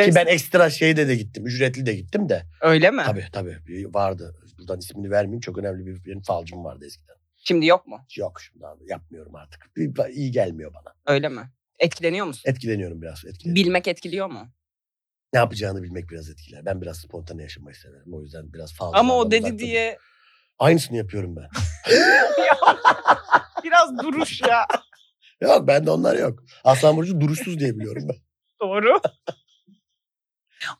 Speaker 3: Ki ben ekstra şeyde de gittim. Ücretli de gittim de.
Speaker 2: Öyle mi?
Speaker 3: Tabii tabii bir vardı. Buradan ismini vermeyeyim. Çok önemli bir benim falcım vardı eskiden.
Speaker 2: Şimdi yok mu?
Speaker 3: Yok şimdi abi yapmıyorum artık. Bir- İyi gelmiyor bana.
Speaker 2: Öyle mi? Etkileniyor musun?
Speaker 3: Etkileniyorum biraz. Etkileniyorum.
Speaker 2: Bilmek etkiliyor mu?
Speaker 3: ne yapacağını bilmek biraz etkiler. Ben biraz spontane yaşamayı severim. O yüzden biraz fazla.
Speaker 2: Ama o dedi diye
Speaker 3: Aynısını yapıyorum ben.
Speaker 2: biraz duruş ya.
Speaker 3: yok bende onlar yok. Aslan Burcu duruşsuz diyebiliyorum ben.
Speaker 2: Doğru.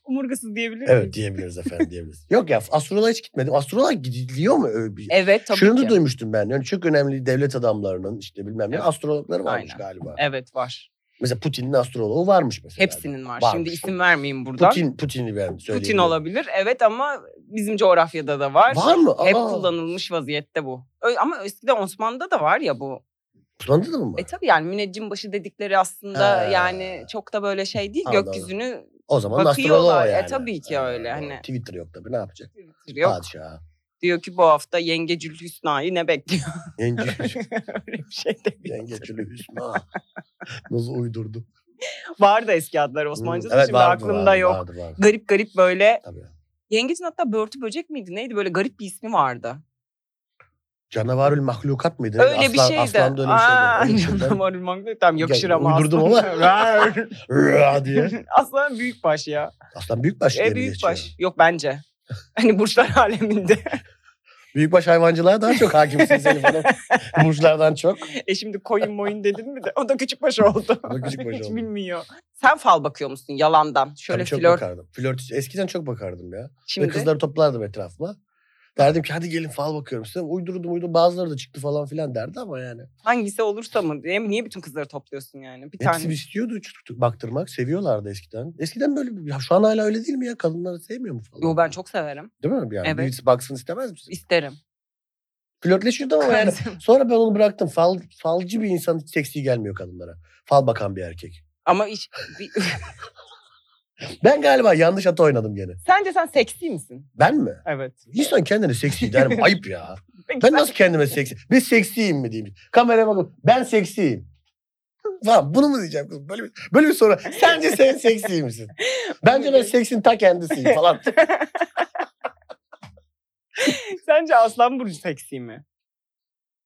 Speaker 2: Omurgasız diyebilir miyim?
Speaker 3: Evet diyebiliriz efendim diyebiliriz. Yok ya astroloğa hiç gitmedim. Astroloğa gidiliyor mu öyle bir
Speaker 2: Evet E, tabii
Speaker 3: Şunu
Speaker 2: ki.
Speaker 3: da duymuştum ben. Yani çok önemli devlet adamlarının işte bilmem ne
Speaker 2: Evet.
Speaker 3: astrologları varmış
Speaker 2: Aynen.
Speaker 3: galiba.
Speaker 2: Evet var.
Speaker 3: Mesela Putin'in astroloğu varmış mesela.
Speaker 2: Hepsinin var.
Speaker 3: Varmış.
Speaker 2: Şimdi isim vermeyeyim buradan. Putin,
Speaker 3: Putin, Putin'i ben söyleyeyim.
Speaker 2: olabilir. Evet ama bizim coğrafyada da var.
Speaker 3: Var mı?
Speaker 2: Hep
Speaker 3: Aa,
Speaker 2: kullanılmış vaziyette bu. Ö- Ama eskiden Osmanlı'da da var ya bu.
Speaker 3: Kullandı da mı?
Speaker 2: E tabii yani müneccim başı dedikleri aslında
Speaker 3: Ha.
Speaker 2: yani çok da böyle şey değil.
Speaker 3: Anladım.
Speaker 2: Gökyüzünü
Speaker 3: o zaman
Speaker 2: bakıyorlar.
Speaker 3: astrolog o
Speaker 2: E
Speaker 3: yani.
Speaker 2: tabii ki
Speaker 3: Ha,
Speaker 2: öyle,
Speaker 3: doğru.
Speaker 2: hani.
Speaker 3: Twitter yok tabii ne yapacak?
Speaker 2: yok.
Speaker 3: Padişah.
Speaker 2: Diyor ki bu hafta yengecül Hüsna'yı ne bekliyor?
Speaker 3: Yengeç,
Speaker 2: Öyle bir şey de bir-
Speaker 3: yengeçli Hüsna. Nasıl uydurdu?
Speaker 2: Var da eski adlar Osmancı'da
Speaker 3: Hmm,
Speaker 2: şimdi
Speaker 3: vardı,
Speaker 2: aklımda
Speaker 3: vardı,
Speaker 2: yok.
Speaker 3: Vardı, vardı.
Speaker 2: Garip garip böyle.
Speaker 3: Tabii.
Speaker 2: Yengecin hatta börtü böcek miydi neydi böyle garip bir ismi vardı.
Speaker 3: Canavarül mahlukat mıydı?
Speaker 2: Öyle bir
Speaker 3: Aslan-
Speaker 2: şeydi.
Speaker 3: Aslan da öyle bir
Speaker 2: Aa,
Speaker 3: şeydi. Öyle bir şeydi.
Speaker 2: Canavarül Magnus. Tamam yakışır ama
Speaker 3: uydurdum
Speaker 2: aslan.
Speaker 3: Rıa diye.
Speaker 2: aslan büyük baş ya.
Speaker 3: Aslan büyükbaş diye
Speaker 2: E
Speaker 3: mi
Speaker 2: büyük
Speaker 3: geçiyor?
Speaker 2: baş. Yok bence. Hani burçlar aleminde.
Speaker 3: Büyükbaş hayvancılığa daha çok hakimsin Elif Hanım. Burçlardan çok.
Speaker 2: e şimdi koyun moyun dedin mi de o da küçük baş oldu.
Speaker 3: O da küçük baş
Speaker 2: Hiç
Speaker 3: oldu.
Speaker 2: bilmiyor. Sen fal bakıyor musun yalandan? Şöyle
Speaker 3: Tabii çok
Speaker 2: flört.
Speaker 3: bakardım. Flört, eskiden çok bakardım ya.
Speaker 2: Şimdi
Speaker 3: Ve kızları toplardım etrafıma. Derdim ki hadi gelin fal bakıyorum size. Uydurdum uydurdum bazıları da çıktı falan filan derdi ama yani.
Speaker 2: hangisi olursa mı? diye mi- Niye bütün kızları topluyorsun yani? Bir
Speaker 3: Hepsi şey.
Speaker 2: tane.
Speaker 3: istiyordu çıt- çıt- baktırmak. Seviyorlardı eskiden. Eskiden böyle bir- ya şu an hala öyle değil mi ya? Kadınları sevmiyor mu falan?
Speaker 2: Yo ben çok severim.
Speaker 3: Değil mi yani?
Speaker 2: Evet.
Speaker 3: Birisi baksın istemez misin?
Speaker 2: İsterim.
Speaker 3: Flörtleşiyordum ama yani. Sonra ben onu bıraktım. Fal, falcı bir insan hiç seksi gelmiyor kadınlara. Fal bakan bir erkek.
Speaker 2: Ama iş, bir-
Speaker 3: Ben galiba yanlış ata oynadım gene.
Speaker 2: sence sen seksi misin?
Speaker 3: Ben mi?
Speaker 2: Evet.
Speaker 3: İnsan kendine seksi der mi? Ayıp ya. Ben nasıl kendime seksi? Biz seksiyim mi diyeyim? Kameraya bakın. Ben seksiyim. Falan bunu mu diyeceğim kızım? Böyle bir, böyle bir soru. Sence sen seksi misin? Bence ben seksin ta kendisiyim falan.
Speaker 2: Sence Aslan Burcu seksi mi?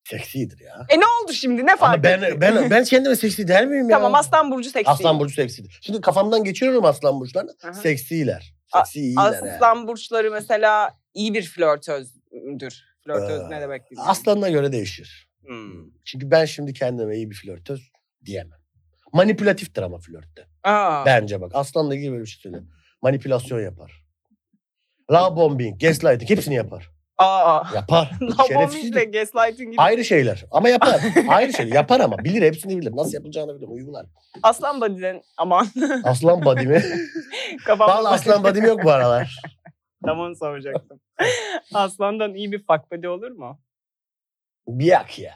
Speaker 3: Seksidir ya.
Speaker 2: E ne oldu şimdi? Ne fark
Speaker 3: Ama ben,
Speaker 2: etti?
Speaker 3: ben, ben kendime seksi der miyim ya?
Speaker 2: Tamam Aslan Burcu seksi.
Speaker 3: Aslan Burcu seksidir. Şimdi kafamdan geçiriyorum Aslan Burçlarını.
Speaker 2: Aha.
Speaker 3: Seksiler.
Speaker 2: A-
Speaker 3: Seksi iyiler yani.
Speaker 2: Aslan Burçları mesela iyi bir flörtözdür. Flörtöz
Speaker 3: Ee,
Speaker 2: ne demek? bilmiyorum.
Speaker 3: Aslanına göre değişir.
Speaker 2: Hmm.
Speaker 3: Çünkü ben şimdi kendime iyi bir flörtöz diyemem. Manipülatiftir ama flörtte.
Speaker 2: Aa,
Speaker 3: Bence bak aslanla ilgili böyle bir şey söyleyeyim. Manipülasyon yapar. La bombing, gaslighting hepsini yapar.
Speaker 2: aa.
Speaker 3: Yapar.
Speaker 2: Labomizle
Speaker 3: Şerefsizdir.
Speaker 2: gaslighting gibi.
Speaker 3: Ayrı şeyler ama yapar. Ayrı şey yapar ama bilir hepsini bilir. Nasıl yapılacağını bilir uygular.
Speaker 2: Aslan badiden aman
Speaker 3: Aslan badimi.
Speaker 2: kafam.
Speaker 3: Vallahi aslan badimi yok bu aralar.
Speaker 2: Tam onu soracaktım. Aslandan iyi bir fuck buddy olur mu?
Speaker 3: Bir yak ya.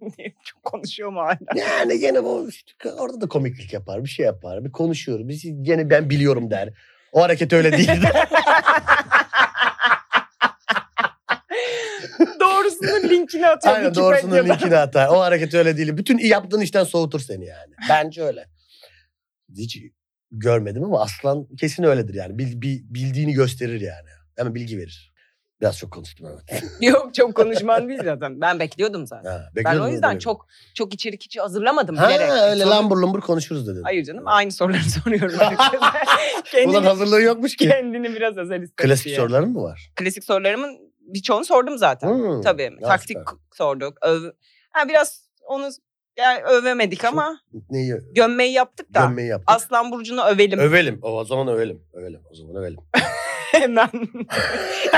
Speaker 2: Niye? Çok konuşuyor mu hala?
Speaker 3: Yani gene bu işte orada da komiklik yapar. Bir şey yapar. Bir konuşuyor. Bir şey- gene ben biliyorum der. O hareket öyle değil.
Speaker 2: Doğrusunun linkini atıyor
Speaker 3: Aynen doğrusunun
Speaker 2: Wikipedia'da.
Speaker 3: linkini atar. O hareket öyle değil. Bütün iyi yaptığın işten soğutur seni yani. Bence öyle. Hiç görmedim ama aslan kesin öyledir yani. Bil- bi- bildiğini gösterir yani. Hemen bilgi verir. Biraz çok konuştum evet.
Speaker 2: Yok çok konuşman değil zaten. Ben bekliyordum zaten.
Speaker 3: Ha,
Speaker 2: Ben
Speaker 3: bekliyordum
Speaker 2: o
Speaker 3: bunu
Speaker 2: yüzden
Speaker 3: demek.
Speaker 2: çok çok içerik hiç hazırlamadım
Speaker 3: Ha
Speaker 2: bilerek.
Speaker 3: öyle
Speaker 2: Sonra-
Speaker 3: lambur lumbur konuşuruz dedim.
Speaker 2: Hayır canım aynı soruları soruyorum. herkese.
Speaker 3: Ulan
Speaker 2: kendini,
Speaker 3: hazırlığı yokmuş ki.
Speaker 2: kendini biraz özel istedim
Speaker 3: Klasik
Speaker 2: diye.
Speaker 3: soruların mı var?
Speaker 2: Klasik sorularımın birçoğunu sordum zaten.
Speaker 3: Hmm,
Speaker 2: Tabii
Speaker 3: ya
Speaker 2: taktik
Speaker 3: süper.
Speaker 2: sorduk. Öv... Ha, biraz onu yani övemedik ama
Speaker 3: Neyi?
Speaker 2: gömmeyi yaptık da.
Speaker 3: Gömmeyi yaptık.
Speaker 2: Aslan Burcu'nu övelim
Speaker 3: Övelim. O, o zaman övelim. Övelim. O zaman övelim.
Speaker 2: hemen.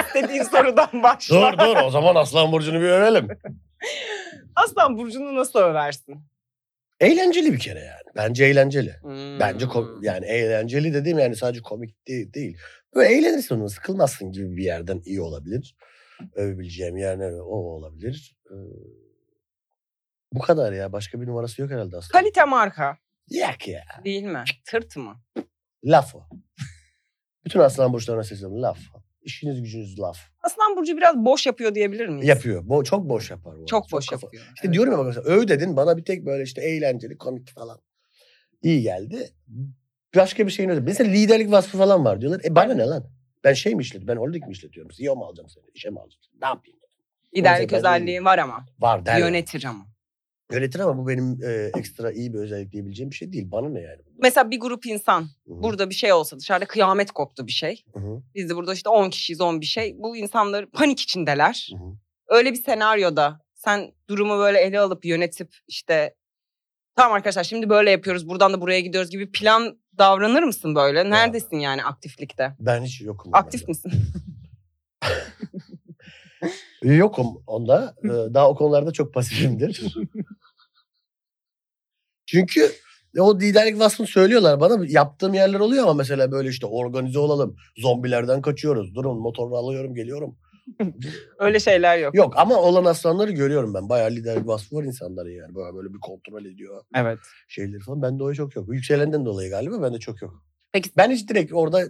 Speaker 2: İstediğin sorudan başla.
Speaker 3: dur dur o zaman Aslan Burcu'nu bir övelim.
Speaker 2: Aslan Burcu'nu nasıl översin?
Speaker 3: Eğlenceli bir kere yani. Bence eğlenceli.
Speaker 2: Hmm.
Speaker 3: Bence ko- yani eğlenceli dediğim yani sadece komik değil. değil. Böyle eğlenirsin onu sıkılmazsın gibi bir yerden iyi olabilir. Övebileceğim yer ne o olabilir. Ee, bu kadar ya. Başka bir numarası yok herhalde aslında.
Speaker 2: Kalite marka
Speaker 3: Yak ya.
Speaker 2: değil mi? Tırt mı?
Speaker 3: Laf o. Bütün aslan burçlarına sesleniyorum. Laf. İşiniz gücünüz laf.
Speaker 2: Aslan Burcu biraz boş yapıyor diyebilir miyiz?
Speaker 3: Yapıyor. Bo- çok boş yapar. Bu arada.
Speaker 2: Çok boş
Speaker 3: kafa-
Speaker 2: yapıyor.
Speaker 3: İşte diyorum ya bak mesela öv dedin bana bir tek böyle işte eğlenceli komik falan. İyi geldi. Başka bir şeyin öyle. Mesela liderlik vasfı falan var diyorlar. E bana ne lan? Ben şey mi işletiyorum? Ben holding mi işletiyorum? CEO mu alacağım seni? İşe mi alacağım seni? Ne yapayım?
Speaker 2: İdeallik
Speaker 3: Konsept-
Speaker 2: özelliği var ama.
Speaker 3: Var der. Yönet.
Speaker 2: Yönetir ama.
Speaker 3: Yönetir ama bu benim e, ekstra iyi bir özellik diyebileceğim bir şey değil. Bana ne yani?
Speaker 2: Mesela bir grup insan
Speaker 3: Hı-hı.
Speaker 2: burada bir şey olsa dışarıda kıyamet koptu bir şey.
Speaker 3: Hı-hı.
Speaker 2: Biz de burada işte 10 kişiyiz 10 bir şey. Bu insanlar panik içindeler.
Speaker 3: Hı hı.
Speaker 2: Öyle bir senaryoda sen durumu böyle ele alıp yönetip işte tamam arkadaşlar şimdi böyle yapıyoruz buradan da buraya gidiyoruz gibi plan davranır mısın böyle? Neredesin yani aktiflikte?
Speaker 3: Ben hiç yokum.
Speaker 2: Aktif
Speaker 3: onlarda.
Speaker 2: misin?
Speaker 3: Yokum onda. Ee, Daha o konularda çok pasifimdir. Çünkü o liderlik vasfını söylüyorlar bana. Yaptığım yerler oluyor ama mesela böyle işte organize olalım. Zombilerden kaçıyoruz. Durun motoru alıyorum geliyorum.
Speaker 2: Öyle şeyler yok.
Speaker 3: Yok ama olan aslanları görüyorum ben. Bayağı liderlik vasfı var insanların yani. Böyle, böyle bir kontrol ediyor
Speaker 2: Evet.
Speaker 3: şeyleri falan. Bende o çok yok. Yükselenden dolayı galiba bende çok yok.
Speaker 2: Peki-
Speaker 3: Ben hiç direkt orada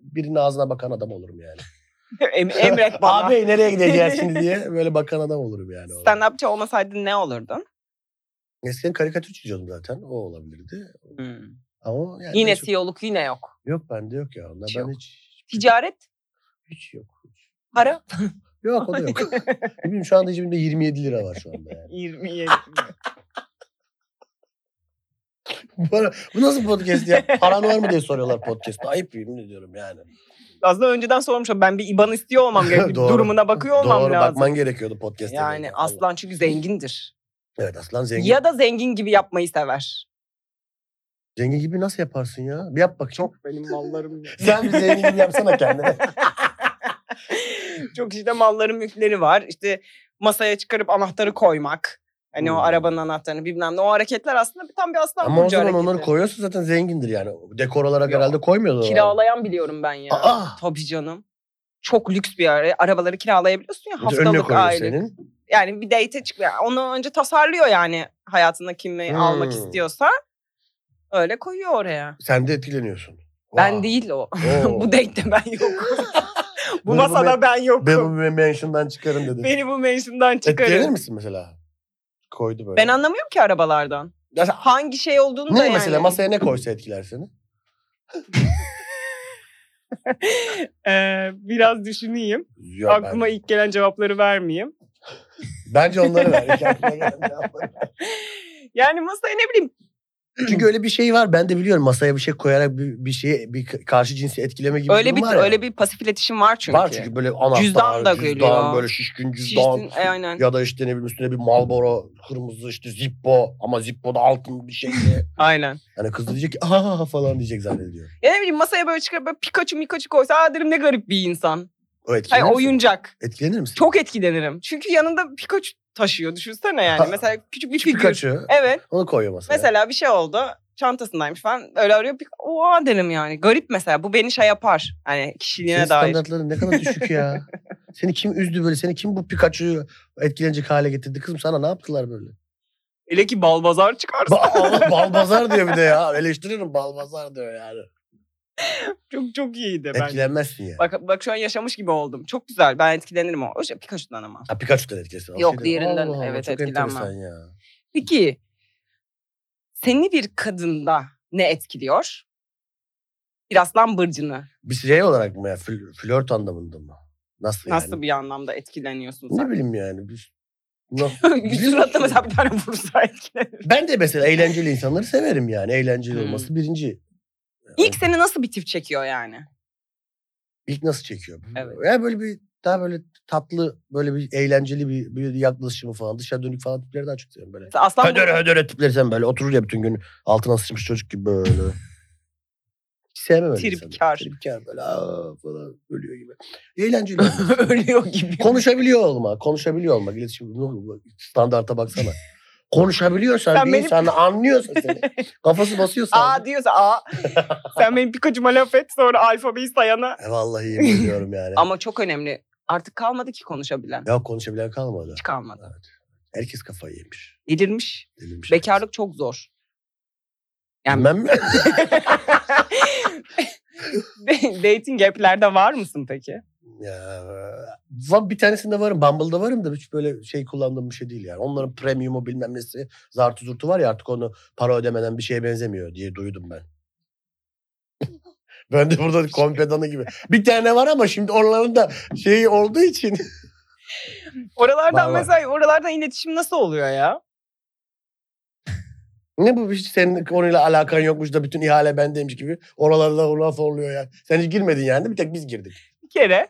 Speaker 3: birinin ağzına bakan adam olurum yani.
Speaker 2: Em- emret bana.
Speaker 3: Abi nereye gideceğiz şimdi diye böyle bakan adam olurum yani. orada.
Speaker 2: Stand upçı olmasaydın ne olurdun?
Speaker 3: Eskiden karikatür çiziyordum zaten. O olabilirdi. Ama yani
Speaker 2: Yine
Speaker 3: çok-
Speaker 2: CEO'luk yine yok.
Speaker 3: yok bende yok ya. Onlar
Speaker 2: Hiç
Speaker 3: ben
Speaker 2: yok.
Speaker 3: hiç şey,
Speaker 2: Ticaret,
Speaker 3: hiç yok.
Speaker 2: para.
Speaker 3: Yok o da yok. Bilmiyorum şu anda cebimde 27 lira var şu anda yani.
Speaker 2: 27.
Speaker 3: Para, bu nasıl podcast ya? Paran var mı diye soruyorlar podcast'ta. Ayıp yemin ediyorum yani.
Speaker 2: Aslında önceden sormuşum. Ben bir IBAN istiyor olmam gerekiyor.
Speaker 3: Doğru.
Speaker 2: Durumuna bakıyor şey olmam
Speaker 3: Doğru
Speaker 2: lazım.
Speaker 3: bakman gerekiyordu podcast'te.
Speaker 2: yani
Speaker 3: Allah.
Speaker 2: aslan çünkü zengindir.
Speaker 3: Evet aslan zengin.
Speaker 2: Ya da zengin gibi yapmayı sever.
Speaker 3: Zengin gibi nasıl yaparsın ya? Bir yap bak. Çok.
Speaker 2: Benim mallarım.
Speaker 3: Sen bir zengin gibi yapsana kendine.
Speaker 2: Çok işte malların mülkleri var. İşte masaya çıkarıp anahtarı koymak. Hani o
Speaker 3: Hmm.
Speaker 2: arabanın anahtarını bilmem ne. O hareketler aslında tam bir aslan
Speaker 3: Ama o
Speaker 2: burcu
Speaker 3: zaman onları
Speaker 2: hareketi.
Speaker 3: koyuyorsun zaten zengindir yani. Dekor olarak
Speaker 2: Yok.
Speaker 3: herhalde koymuyorlar.
Speaker 2: Kiralayan biliyorum ben ya.
Speaker 3: Aa!
Speaker 2: Tabii canım. Çok lüks bir ara. Arabaları kiralayabiliyorsun ya
Speaker 3: Önüne
Speaker 2: haftalık
Speaker 3: koyuyor
Speaker 2: aile.
Speaker 3: senin.
Speaker 2: Yani bir date'e çık. yani Onu önce tasarlıyor yani hayatında kimi
Speaker 3: Hmm.
Speaker 2: almak istiyorsa. Öyle koyuyor oraya.
Speaker 3: Sen de etkileniyorsun.
Speaker 2: Ben
Speaker 3: Wow.
Speaker 2: değil o.
Speaker 3: Oo.
Speaker 2: bu denkte ben yokum. bu
Speaker 3: Bunu-
Speaker 2: masada ben
Speaker 3: Ben bu
Speaker 2: yokum.
Speaker 3: mention'dan çıkarım dedi.
Speaker 2: Beni bu mention'dan
Speaker 3: Etkilenir
Speaker 2: çıkarın.
Speaker 3: misin mesela? Koydu E, böyle.
Speaker 2: Ben anlamıyorum ki arabalardan.
Speaker 3: Ya sen-
Speaker 2: Hangi şey olduğunu da
Speaker 3: ne
Speaker 2: yani.
Speaker 3: mesela masaya ne koysa etkiler seni?
Speaker 2: Ee, biraz düşüneyim.
Speaker 3: Ya ben-
Speaker 2: Aklıma ilk gelen cevapları vermeyeyim.
Speaker 3: Bence onları ver. İki aklına gelen cevapları.
Speaker 2: Yani masaya ne bileyim.
Speaker 3: Çünkü öyle bir şey var. Ben de biliyorum masaya bir şey koyarak bir, bir şeye bir karşı cinsi etkileme gibi
Speaker 2: öyle
Speaker 3: durum
Speaker 2: bir
Speaker 3: var ya.
Speaker 2: öyle bir pasif iletişim var çünkü.
Speaker 3: Var çünkü böyle anahtar,
Speaker 2: Cüzdan da geliyor.
Speaker 3: böyle şişkin cüzdan.
Speaker 2: Şiştin, e, aynen.
Speaker 3: Ya da işte ne bileyim üstüne bir Marlboro, kırmızı işte Zippo ama Zippo'da altın bir şey diye.
Speaker 2: Aynen.
Speaker 3: Hani kız da diyecek ki aa falan diyecek zannediyor.
Speaker 2: Ya ne bileyim masaya böyle çıkarıp böyle Pikachu Mikachu koysa aa derim ne garip bir insan.
Speaker 3: O etkilenir
Speaker 2: Hayır
Speaker 3: misin?
Speaker 2: oyuncak.
Speaker 3: Etkilenir misin?
Speaker 2: Çok etkilenirim. Çünkü yanında Pikachu taşıyor düşünsene
Speaker 3: Ha.
Speaker 2: yani. Mesela küçük bir
Speaker 3: Küçük
Speaker 2: figür.
Speaker 3: Pikachu.
Speaker 2: Evet.
Speaker 3: Onu koyuyor masaya.
Speaker 2: Mesela bir şey oldu. Çantasındaymış falan. Öyle arıyor. Pik- Oha derim yani. Garip mesela. Bu beni şey yapar. Hani kişiliğine
Speaker 3: Senin
Speaker 2: dair.
Speaker 3: standartların ne kadar düşük ya. Seni kim üzdü böyle? Seni kim bu Pikachu'yu etkilenecek hale getirdi? Kızım sana ne yaptılar böyle?
Speaker 2: Hele ki balbazar çıkarsa.
Speaker 3: Ba- Allah, Balbazar diyor bir de ya. Eleştiririm Balbazar diyor yani.
Speaker 2: çok çok iyiydi bence.
Speaker 3: Etkilenmezsin yani.
Speaker 2: Bak, bak şu an yaşamış gibi oldum. Çok güzel. Ben etkilenirim o. O şey Pikachu'dan ama.
Speaker 3: Ha, Pikachu'dan etkilensin.
Speaker 2: Yok,
Speaker 3: Şey değil.
Speaker 2: diğerinden
Speaker 3: Allah Allah,
Speaker 2: evet
Speaker 3: çok
Speaker 2: etkilenmem.
Speaker 3: enteresan ya.
Speaker 2: Peki seni bir kadında ne etkiliyor? Biraz lambırcını.
Speaker 3: Bir şey olarak mı ya? Fl- flört anlamında mı? Nasıl,
Speaker 2: Nasıl
Speaker 3: yani?
Speaker 2: bir anlamda etkileniyorsun
Speaker 3: Ne
Speaker 2: sen?
Speaker 3: bileyim yani. Bir, Nasıl-
Speaker 2: Bir
Speaker 3: Bilmiyorum.
Speaker 2: suratla mesela bir tane vursa etkilenir.
Speaker 3: Ben de mesela eğlenceli insanları severim yani. Eğlenceli
Speaker 2: Hmm.
Speaker 3: olması birinci.
Speaker 2: İlk seni nasıl bir tip çekiyor yani?
Speaker 3: İlk nasıl çekiyor?
Speaker 2: Evet.
Speaker 3: Ya böyle bir daha böyle tatlı, böyle bir eğlenceli bir, bir yaklaşımı falan. Dışarı dönük falan tipleri daha çok seviyorum böyle.
Speaker 2: Mesela Aslan
Speaker 3: Hödöre
Speaker 2: burnu,
Speaker 3: hödöre tipleri sen böyle oturur ya bütün gün altına sıçmış çocuk gibi böyle. Hiç Sevmem öyle insanları.
Speaker 2: Tripkar.
Speaker 3: Tripkar böyle aa falan ölüyor gibi. Eğlenceli. olması.
Speaker 2: ölüyor gibi.
Speaker 3: konuşabiliyor olmak, konuşabiliyor olmak. İletişim standarta baksana. Konuşabiliyorsan
Speaker 2: Sen
Speaker 3: bir
Speaker 2: benim-
Speaker 3: insan anlıyorsa seni. Kafası basıyorsa.
Speaker 2: Aa diyorsa aa. Sen benim Pikachu'ma laf et sonra alfabeyi sayana.
Speaker 3: E vallahi yemin ediyorum yani.
Speaker 2: Ama çok önemli. Artık kalmadı ki konuşabilen.
Speaker 3: Ya konuşabilen kalmadı.
Speaker 2: Hiç kalmadı.
Speaker 3: Herkes kafayı yemiş.
Speaker 2: Delirmiş.
Speaker 3: Delirmiş herkes.
Speaker 2: Bekarlık çok zor. Yani-
Speaker 3: Bilmem şey mi?
Speaker 2: De- Dating app'lerde var mısın peki?
Speaker 3: ya, va- bir tanesinde varım. Bumble'da varım da hiç böyle şey kullandığım bir şey değil yani. Onların premiumu bilmem nesi zartı zurtu var ya artık onu para ödemeden bir şeye benzemiyor diye duydum ben. ben de burada
Speaker 2: şey
Speaker 3: kompedanı gibi. Bir tane var ama şimdi onların da şeyi olduğu için.
Speaker 2: Oralardan
Speaker 3: Var, var.
Speaker 2: mesela oralardan iletişim nasıl oluyor ya?
Speaker 3: ne bu hiç senin konuyla alakan yokmuş da bütün ihale bendeymiş gibi. Oralarda ona soruluyor ya. Sen hiç girmedin yani bir tek biz girdik.
Speaker 2: Bir kere.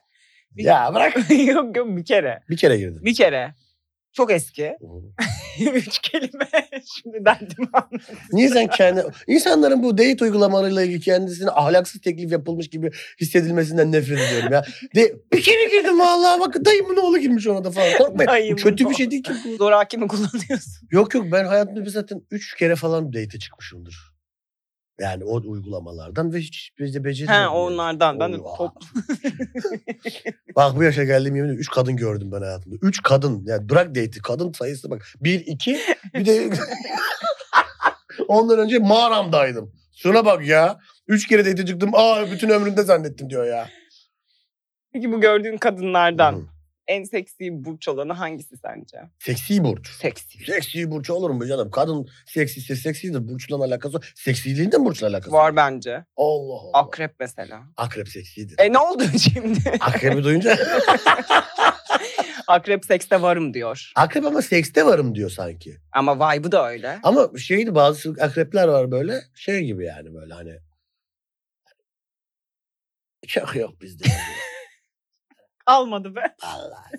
Speaker 2: Bir-
Speaker 3: Ya bırak.
Speaker 2: yok yok bir kere.
Speaker 3: Bir kere girdim.
Speaker 2: Bir kere. Çok eski. Üç kelime. Şimdi derdim anladım.
Speaker 3: Niye sen kendi insanların bu date uygulamalarıyla ilgili kendisine ahlaksız teklif yapılmış gibi hissedilmesinden nefret ediyorum ya. De, bir kere girdim vallahi bak dayımın oğlu girmiş ona da falan. Korkmayın.
Speaker 2: Dayımın
Speaker 3: Kötü bir
Speaker 2: oğlu.
Speaker 3: şey değil ki bu.
Speaker 2: Zor hakimi kullanıyorsun.
Speaker 3: Yok yok ben hayatımda bir zaten üç kere falan date'e çıkmışımdır. Yani o uygulamalardan ve hiç bece beceremiyorum.
Speaker 2: He
Speaker 3: yani.
Speaker 2: onlardan. Ben de
Speaker 3: Oo,
Speaker 2: top.
Speaker 3: Bak bu yaşa geldiğim yemin ediyorum. Üç kadın gördüm ben hayatımda. Üç kadın. Yani bırak date'i. Kadın sayısı bak. Bir, iki. Bir de ondan önce mağaramdaydım. Şuna bak ya. Üç kere date'e çıktım. Aa bütün ömrümde zannettim diyor ya.
Speaker 2: Peki bu gördüğün kadınlardan
Speaker 3: Hı.
Speaker 2: en seksi burç olanı hangisi sence?
Speaker 3: Seksi burç.
Speaker 2: Seksi.
Speaker 3: Seksi burç olur mu canım? Kadın seksiyse seksidir. Burçla alakası yok. Seksiliğin de mi burçla alakası yok?
Speaker 2: Var bence.
Speaker 3: Allah Allah.
Speaker 2: Akrep mesela.
Speaker 3: Akrep seksidir.
Speaker 2: E ne oldu şimdi?
Speaker 3: Akrebi duyunca
Speaker 2: Akrep sekste varım diyor.
Speaker 3: akrep ama sekste varım diyor sanki.
Speaker 2: Ama vibe'ı da öyle.
Speaker 3: Ama şeydi bazı akrepler var böyle şey gibi yani böyle hani. Çok yok bizde. yani.
Speaker 2: Almadı be.
Speaker 3: Vallahi.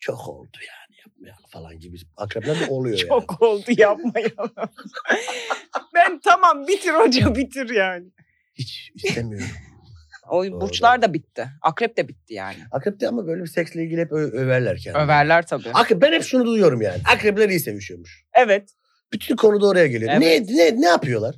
Speaker 3: Çok oldu yani yapmayalım falan gibi. Akrepler de oluyor yani.
Speaker 2: Çok oldu yapmayalım. ben tamam bitir hoca bitir yani.
Speaker 3: Hiç istemiyorum.
Speaker 2: O
Speaker 3: Doğru,
Speaker 2: burçlar da bitti. Akrep de bitti yani.
Speaker 3: Akrepte ama böyle bir seksle ilgili hep ö- överler kendini.
Speaker 2: Överler tabii.
Speaker 3: Akrep, ben hep şunu duyuyorum yani. Akrepler iyi sevişiyormuş.
Speaker 2: evet.
Speaker 3: Bütün konu da oraya geliyor.
Speaker 2: Evet.
Speaker 3: Ne, ne, ne yapıyorlar?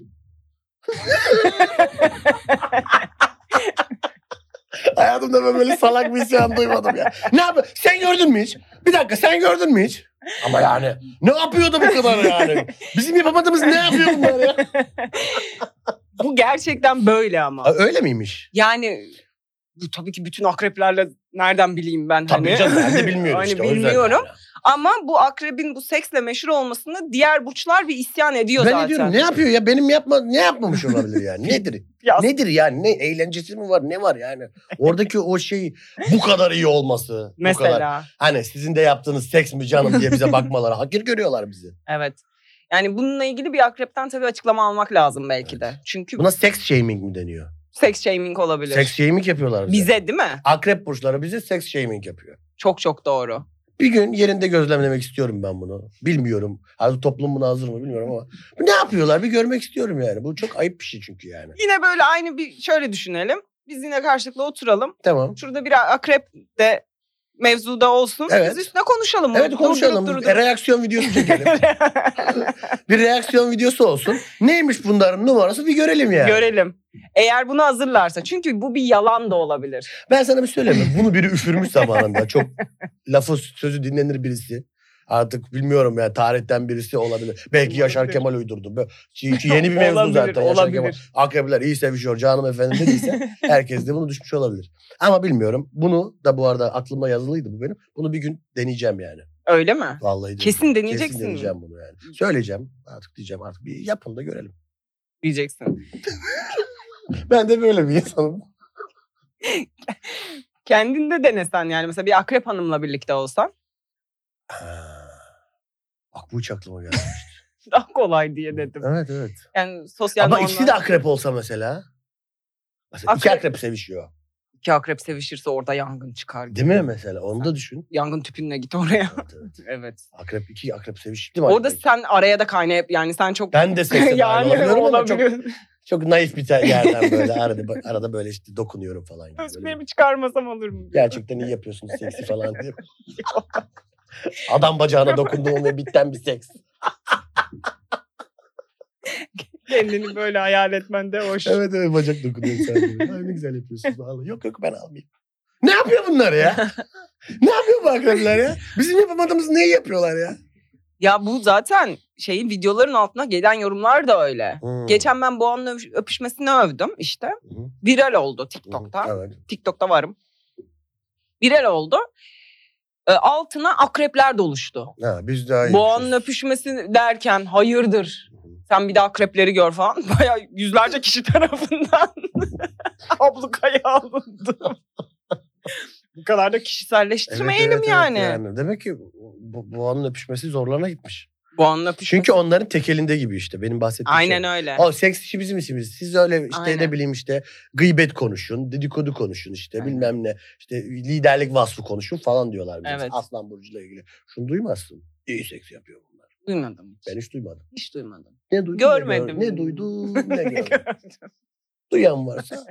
Speaker 3: Hayatımda ben böyle salak bir isyan duymadım ya. Ne yap? Sen gördün mü hiç? Bir dakika sen gördün mü hiç? Ama yani ne yapıyordu bu kadar yani? Bizim yapamadığımız ne yapıyor bunlar ya?
Speaker 2: Bu gerçekten böyle
Speaker 3: Aa,
Speaker 2: ama.
Speaker 3: Öyle miymiş?
Speaker 2: Yani bu tabii ki bütün akreplerle nereden bileyim ben
Speaker 3: Tabii
Speaker 2: hani.
Speaker 3: canım ben de bilmiyorum
Speaker 2: Hani
Speaker 3: işte. o yüzden
Speaker 2: bilmiyorum.
Speaker 3: yani.
Speaker 2: Ama bu akrebin bu seksle meşhur olmasında diğer burçlar bir isyan ediyor
Speaker 3: Ben
Speaker 2: zaten.
Speaker 3: ne diyorum ne yapıyor ya benim yapma ne yapmamış olabilir yani nedir
Speaker 2: Ya
Speaker 3: nedir yani ne eğlencesi mi var ne var yani oradaki o şey bu kadar iyi olması bu kadar
Speaker 2: Mesela.
Speaker 3: hani sizin de yaptığınız seks mi canım diye bize bakmaları hakir görüyorlar bizi
Speaker 2: Evet. Yani bununla ilgili bir akrepten tabii açıklama almak lazım belki de. Çünkü
Speaker 3: buna seks shaming mi deniyor
Speaker 2: seks shaming olabilir.
Speaker 3: seks shaming yapıyorlar şey. bize.
Speaker 2: Bize değil mi?
Speaker 3: akrep burçları bize seks shaming yapıyor
Speaker 2: Çok çok doğru.
Speaker 3: bir gün yerinde gözlemlemek istiyorum ben bunu bilmiyorum hani toplum buna hazır mı bilmiyorum ama ne yapıyorlar bir görmek istiyorum yani bu çok ayıp bir şey çünkü yani
Speaker 2: Yine böyle aynı bir şöyle düşünelim. Biz yine karşılıklı oturalım.
Speaker 3: tamam
Speaker 2: Şurada bir akrep de mevzuda olsun.
Speaker 3: Evet.
Speaker 2: Biz üstüne konuşalım.
Speaker 3: Evet
Speaker 2: Durdurup
Speaker 3: konuşalım.
Speaker 2: durdurup-
Speaker 3: E, reaksiyon videosu çekelim. bir reaksiyon videosu olsun. Neymiş bunların numarası bir görelim yani.
Speaker 2: Görelim. Eğer bunu hazırlarsa. Çünkü bu bir yalan da olabilir.
Speaker 3: ben sana bir şey söyleyeyim mi? Bunu biri üfürmüş zamanında. Çok lafı sözü dinlenir birisi. Artık bilmiyorum yani tarihten birisi olabilir. Belki Yaşar
Speaker 2: Olabilir.
Speaker 3: Kemal uydurdu. Böyle- Çünkü yeni bir mevzu
Speaker 2: Olabilir,
Speaker 3: zaten Yaşar Kemal.
Speaker 2: olabilir.
Speaker 3: Akrebiler iyi sevişiyor canım efendim dediyse herkes de bunu düşmüş olabilir. Ama bilmiyorum. Bunu da bu arada aklıma yazılıydı bu benim. Bunu bir gün deneyeceğim yani.
Speaker 2: Öyle mi?
Speaker 3: Vallahi deneyeceğim.
Speaker 2: Kesin deneyeceksin.
Speaker 3: Kesin deneyeceğim bunu yani. Söyleyeceğim artık diyeceğim artık bir yapın da görelim.
Speaker 2: Diyeceksin.
Speaker 3: Ben de böyle bir insanım.
Speaker 2: Kendin de denesen yani. Mesela bir akrep hanımla birlikte olsan
Speaker 3: Ha. Bak bu hiç aklıma geldi.
Speaker 2: daha kolay diye dedim.
Speaker 3: evet evet.
Speaker 2: Yani sosyal
Speaker 3: Ama
Speaker 2: normlar-
Speaker 3: ikisi de akrep olsa mesela. Mesela iki
Speaker 2: Akrep.
Speaker 3: akrep sevişiyor.
Speaker 2: İki akrep sevişirse orada yangın çıkar. gibi.
Speaker 3: Değil mi mesela? Onu da düşün.
Speaker 2: Yangın tüpünle git oraya.
Speaker 3: Evet, evet.
Speaker 2: evet.
Speaker 3: Akrep iki akrep sevişti mi?
Speaker 2: Orada
Speaker 3: acaba?
Speaker 2: sen araya da kaynayıp yani sen çok
Speaker 3: ben de seksen yani,
Speaker 2: yani
Speaker 3: olabiliyorum ama çok,
Speaker 2: olabiliyor.
Speaker 3: çok naif bir tane yerden böyle arada, arada böyle işte dokunuyorum falan. Gibi. Böyle
Speaker 2: Öpmemi çıkarmasam olur mu? diyor.
Speaker 3: gerçekten iyi yapıyorsunuz seksi falan diye. Adam bacağına dokunduğum ve bitten bir seks.
Speaker 2: Kendini böyle hayal etmen de hoş.
Speaker 3: Evet evet bacak dokunuyor sadece. Ay ne güzel yapıyorsunuz vallahi. Yok yok ben almayayım. Ne yapıyor bunlar ya? ne yapıyor bu akrepler ya? Bizim yapamadığımız neyi yapıyorlar ya?
Speaker 2: Ya bu zaten şeyin videoların altına gelen yorumlar da öyle. Geçen ben Boğa'nın övüş- öpüşmesini övdüm işte.
Speaker 3: Hı.
Speaker 2: Viral oldu TikTok'ta.
Speaker 3: TikTok'ta. Evet.
Speaker 2: TikTok'ta varım. Viral oldu. E, altına akrepler doluştu.
Speaker 3: Ha, biz daha iyi.
Speaker 2: Boğa'nın öpüşmesi derken hayırdır sen bir de akrepleri gör falan. Bayağı yüzlerce kişi tarafından ablukaya alındı. Bu kadar da kişiselleştirmeyelim yani.
Speaker 3: Demek ki bu, boğanın öpüşmesi zorlarına gitmiş.
Speaker 2: Bu anla öpüşmesi.
Speaker 3: Çünkü onların tekelinde gibi işte benim bahsettiğim şey.
Speaker 2: Aynen öyle.
Speaker 3: O seks işi bizim işimiz. Siz öyle işte
Speaker 2: Aynen.
Speaker 3: ne bileyim işte gıybet konuşun, dedikodu konuşun işte
Speaker 2: Aynen.
Speaker 3: bilmem ne. işte liderlik vasfı konuşun falan diyorlar bize.
Speaker 2: Evet.
Speaker 3: Aslan burcuyla ilgili. Şunu duymazsın. İyi seks yapıyor bunlar.
Speaker 2: Duymadım.
Speaker 3: Ben hiç duymadım.
Speaker 2: Hiç duymadım.
Speaker 3: Ne duydum,
Speaker 2: Görmedim.
Speaker 3: Ne, gör- ne duydum ne gördüm. Duyan varsa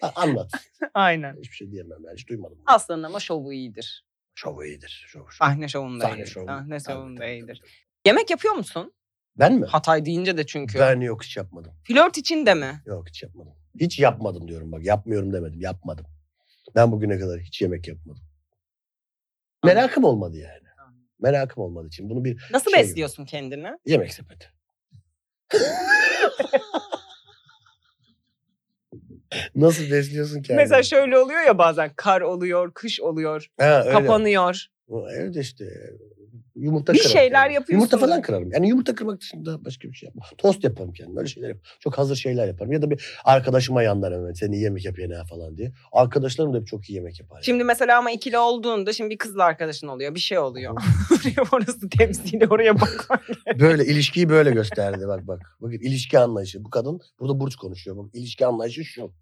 Speaker 3: ha, anlat.
Speaker 2: Aynen.
Speaker 3: Hiçbir şey diyemem yani hiç duymadım.
Speaker 2: Aslanın ama şovu iyidir.
Speaker 3: Şov iyidir. Şov, şov.
Speaker 2: Sahne şovunda
Speaker 3: Sahne
Speaker 2: iyidir.
Speaker 3: şovu.
Speaker 2: Sahne
Speaker 3: Tabii,
Speaker 2: şovunda
Speaker 3: tabii,
Speaker 2: Ah, iyidir.
Speaker 3: tabii.
Speaker 2: Yemek yapıyor musun?
Speaker 3: Ben mi?
Speaker 2: Hatay deyince de çünkü.
Speaker 3: Ben yok hiç yapmadım.
Speaker 2: Flört için de mi?
Speaker 3: Yok hiç yapmadım. Hiç yapmadım diyorum bak. Yapmıyorum demedim. Yapmadım. Ben bugüne kadar hiç yemek yapmadım. Merakım olmadı yani.
Speaker 2: Anladım.
Speaker 3: Merakım olmadığı için bunu bir
Speaker 2: Nasıl
Speaker 3: Şey yok.
Speaker 2: besliyorsun kendini?
Speaker 3: yemek sepeti. Nasıl besliyorsun kendini?
Speaker 2: Mesela şöyle oluyor ya bazen kar oluyor, kış oluyor,
Speaker 3: ha, öyle.
Speaker 2: kapanıyor.
Speaker 3: Evde işte yumurta
Speaker 2: Bir
Speaker 3: kırarım
Speaker 2: şeyler
Speaker 3: yani.
Speaker 2: yapıyorsun.
Speaker 3: Yumurta falan kırarım. Yani yumurta kırmak dışında başka bir şey yapmam. Tost yaparım kendim. Öyle şeyler yaparım. Çok hazır şeyler yaparım. Ya da bir arkadaşıma yanlarım hemen. Sen iyi yemek yapıyorsun ha falan diye. Arkadaşlarım da hep çok iyi yemek yapar. yani.
Speaker 2: Şimdi mesela ama ikili olduğunda şimdi bir kızla arkadaşın oluyor, bir şey oluyor. Oraya orası temsili, oraya bakman.
Speaker 3: böyle ilişkiyi böyle gösterdi bak bak. Bakın ilişki anlayışı. Bu kadın burada burç konuşuyor. Bak ilişki anlayışı şu.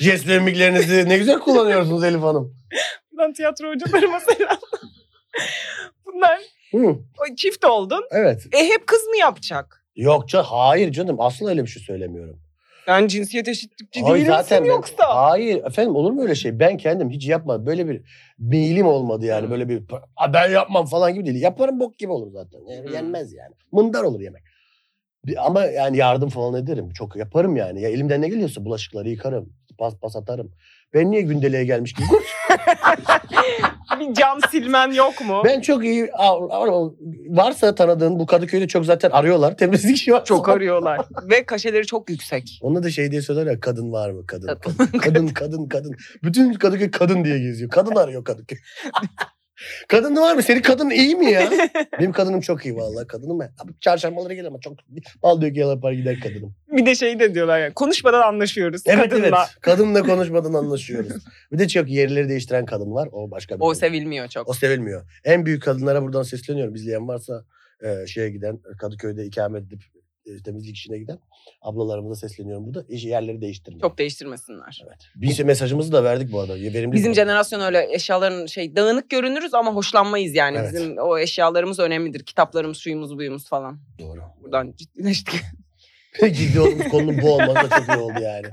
Speaker 3: Jest ve mimiklerinizi ne güzel kullanıyorsunuz Elif Hanım.
Speaker 2: Ben tiyatro hocalarıma selam. Bunlar
Speaker 3: Hı,
Speaker 2: o çift oldun.
Speaker 3: evet.
Speaker 2: E hep kız mı yapacak?
Speaker 3: Yok canım hayır canım asla öyle bir şey söylemiyorum.
Speaker 2: Ben cinsiyet eşitlikçi
Speaker 3: Hayır,
Speaker 2: değil misin
Speaker 3: ben-
Speaker 2: yoksa?
Speaker 3: hayır efendim olur mu öyle şey? Ben kendim hiç yapmadım. Böyle bir meyilim olmadı yani.
Speaker 2: Hı.
Speaker 3: Böyle bir "Aa, ben yapmam falan gibi değil. Yaparım bok gibi olur zaten. Yani
Speaker 2: Hı.
Speaker 3: Yenmez yani. Mındar olur yemek. Bir- Ama yani yardım falan ederim. Çok yaparım yani. Ya elimden ne geliyorsa bulaşıkları yıkarım. Pas pas atarım. Ben niye gündeliğe gelmiş gibi?
Speaker 2: Bir cam silmen yok mu?
Speaker 3: Ben çok iyi av- av- varsa tanıdığın bu Kadıköy'de çok zaten arıyorlar. Temizlik işi var.
Speaker 2: Çok arıyorlar. Ve kaşeleri çok yüksek.
Speaker 3: Onda da şey diye söyler ya kadın var mı kadın kadın kadın kadın. kadın. Bütün Kadıköy kadın diye geziyor. Kadın arıyor Kadıköy. kadın var mı? Senin kadın iyi mi ya? Benim kadınım çok iyi vallahi kadınım. ben. Abi çarşambaları gelir ama çok bal dök yapar gider kadınım.
Speaker 2: Bir de şey de diyorlar ya konuşmadan anlaşıyoruz.
Speaker 3: Evet
Speaker 2: kadınla.
Speaker 3: evet. Kadınla konuşmadan anlaşıyoruz. Bir de çok yerleri değiştiren kadın var. O başka bir
Speaker 2: O
Speaker 3: konu.
Speaker 2: sevilmiyor çok.
Speaker 3: O sevilmiyor. En büyük kadınlara buradan sesleniyorum. İzleyen varsa e, şeye giden Kadıköy'de ikamet edip e, temizlik işine giden ablalarımıza sesleniyorum burada. İş yerleri değiştirmeyin.
Speaker 2: Çok değiştirmesinler.
Speaker 3: Biz mesajımızı da verdik bu arada. Verimli
Speaker 2: Bizim
Speaker 3: bir-
Speaker 2: jenerasyon öyle eşyaların şey dağınık görünürüz ama hoşlanmayız yani.
Speaker 3: Evet.
Speaker 2: Bizim o eşyalarımız önemlidir. Kitaplarımız, suyumuz, buyumuz falan.
Speaker 3: Doğru.
Speaker 2: Buradan ciddileştik.
Speaker 3: Ciddi olduğumuz konunun bu olması da çok iyi oldu yani.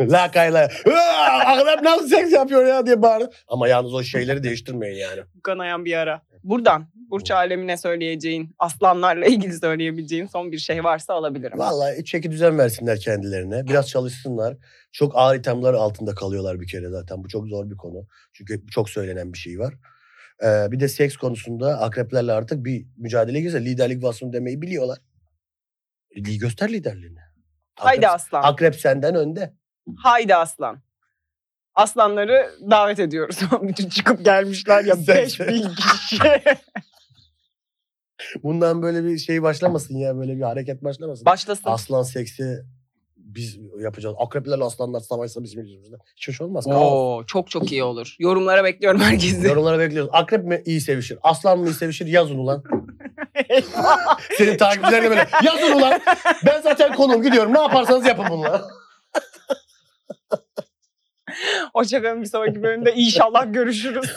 Speaker 3: Lakayla "Aa, adam nasıl seks yapıyor ya diye bağırdı. Ama yalnız o şeyleri değiştirmeyin yani.
Speaker 2: kanayan bir ara. Buradan Burç Alemine söyleyeceğin, aslanlarla ilgili söyleyebileceğin son bir şey varsa alabilirim.
Speaker 3: Vallahi e, çeki düzen versinler kendilerine. Biraz çalışsınlar. Çok ağır itemler altında kalıyorlar bir kere zaten. Bu çok zor bir konu. Çünkü çok söylenen bir şey var. Ee, bir de seks konusunda akreplerle artık bir mücadele girse liderlik vasfını demeyi biliyorlar. E, li- göster liderliğini.
Speaker 2: Haydi
Speaker 3: Akrep,
Speaker 2: aslan.
Speaker 3: akrep senden önde.
Speaker 2: Haydi aslan. Aslanları davet ediyoruz. Bütün çıkıp gelmişler ya
Speaker 3: Sen-
Speaker 2: 5000 kişi.
Speaker 3: Bundan böyle bir şey başlamasın ya. Böyle bir hareket başlamasın.
Speaker 2: Başlasın.
Speaker 3: Aslan seksi biz yapacağız. Akreplerle aslanlar savaşsa bizim yüzümüzden. Hiç hoş olmaz. Kaos.
Speaker 2: Oo, çok çok iyi olur. Yorumlara bekliyorum herkesi.
Speaker 3: Yorumlara bekliyoruz. Akrep mi iyi sevişir? Aslan mı iyi sevişir? Yazın ulan. Senin takipçilerine böyle yazın ulan. Ben zaten konuğum gidiyorum. Ne yaparsanız yapın bununla.
Speaker 2: Hoşçakalın bir sonraki bölümde inşallah görüşürüz.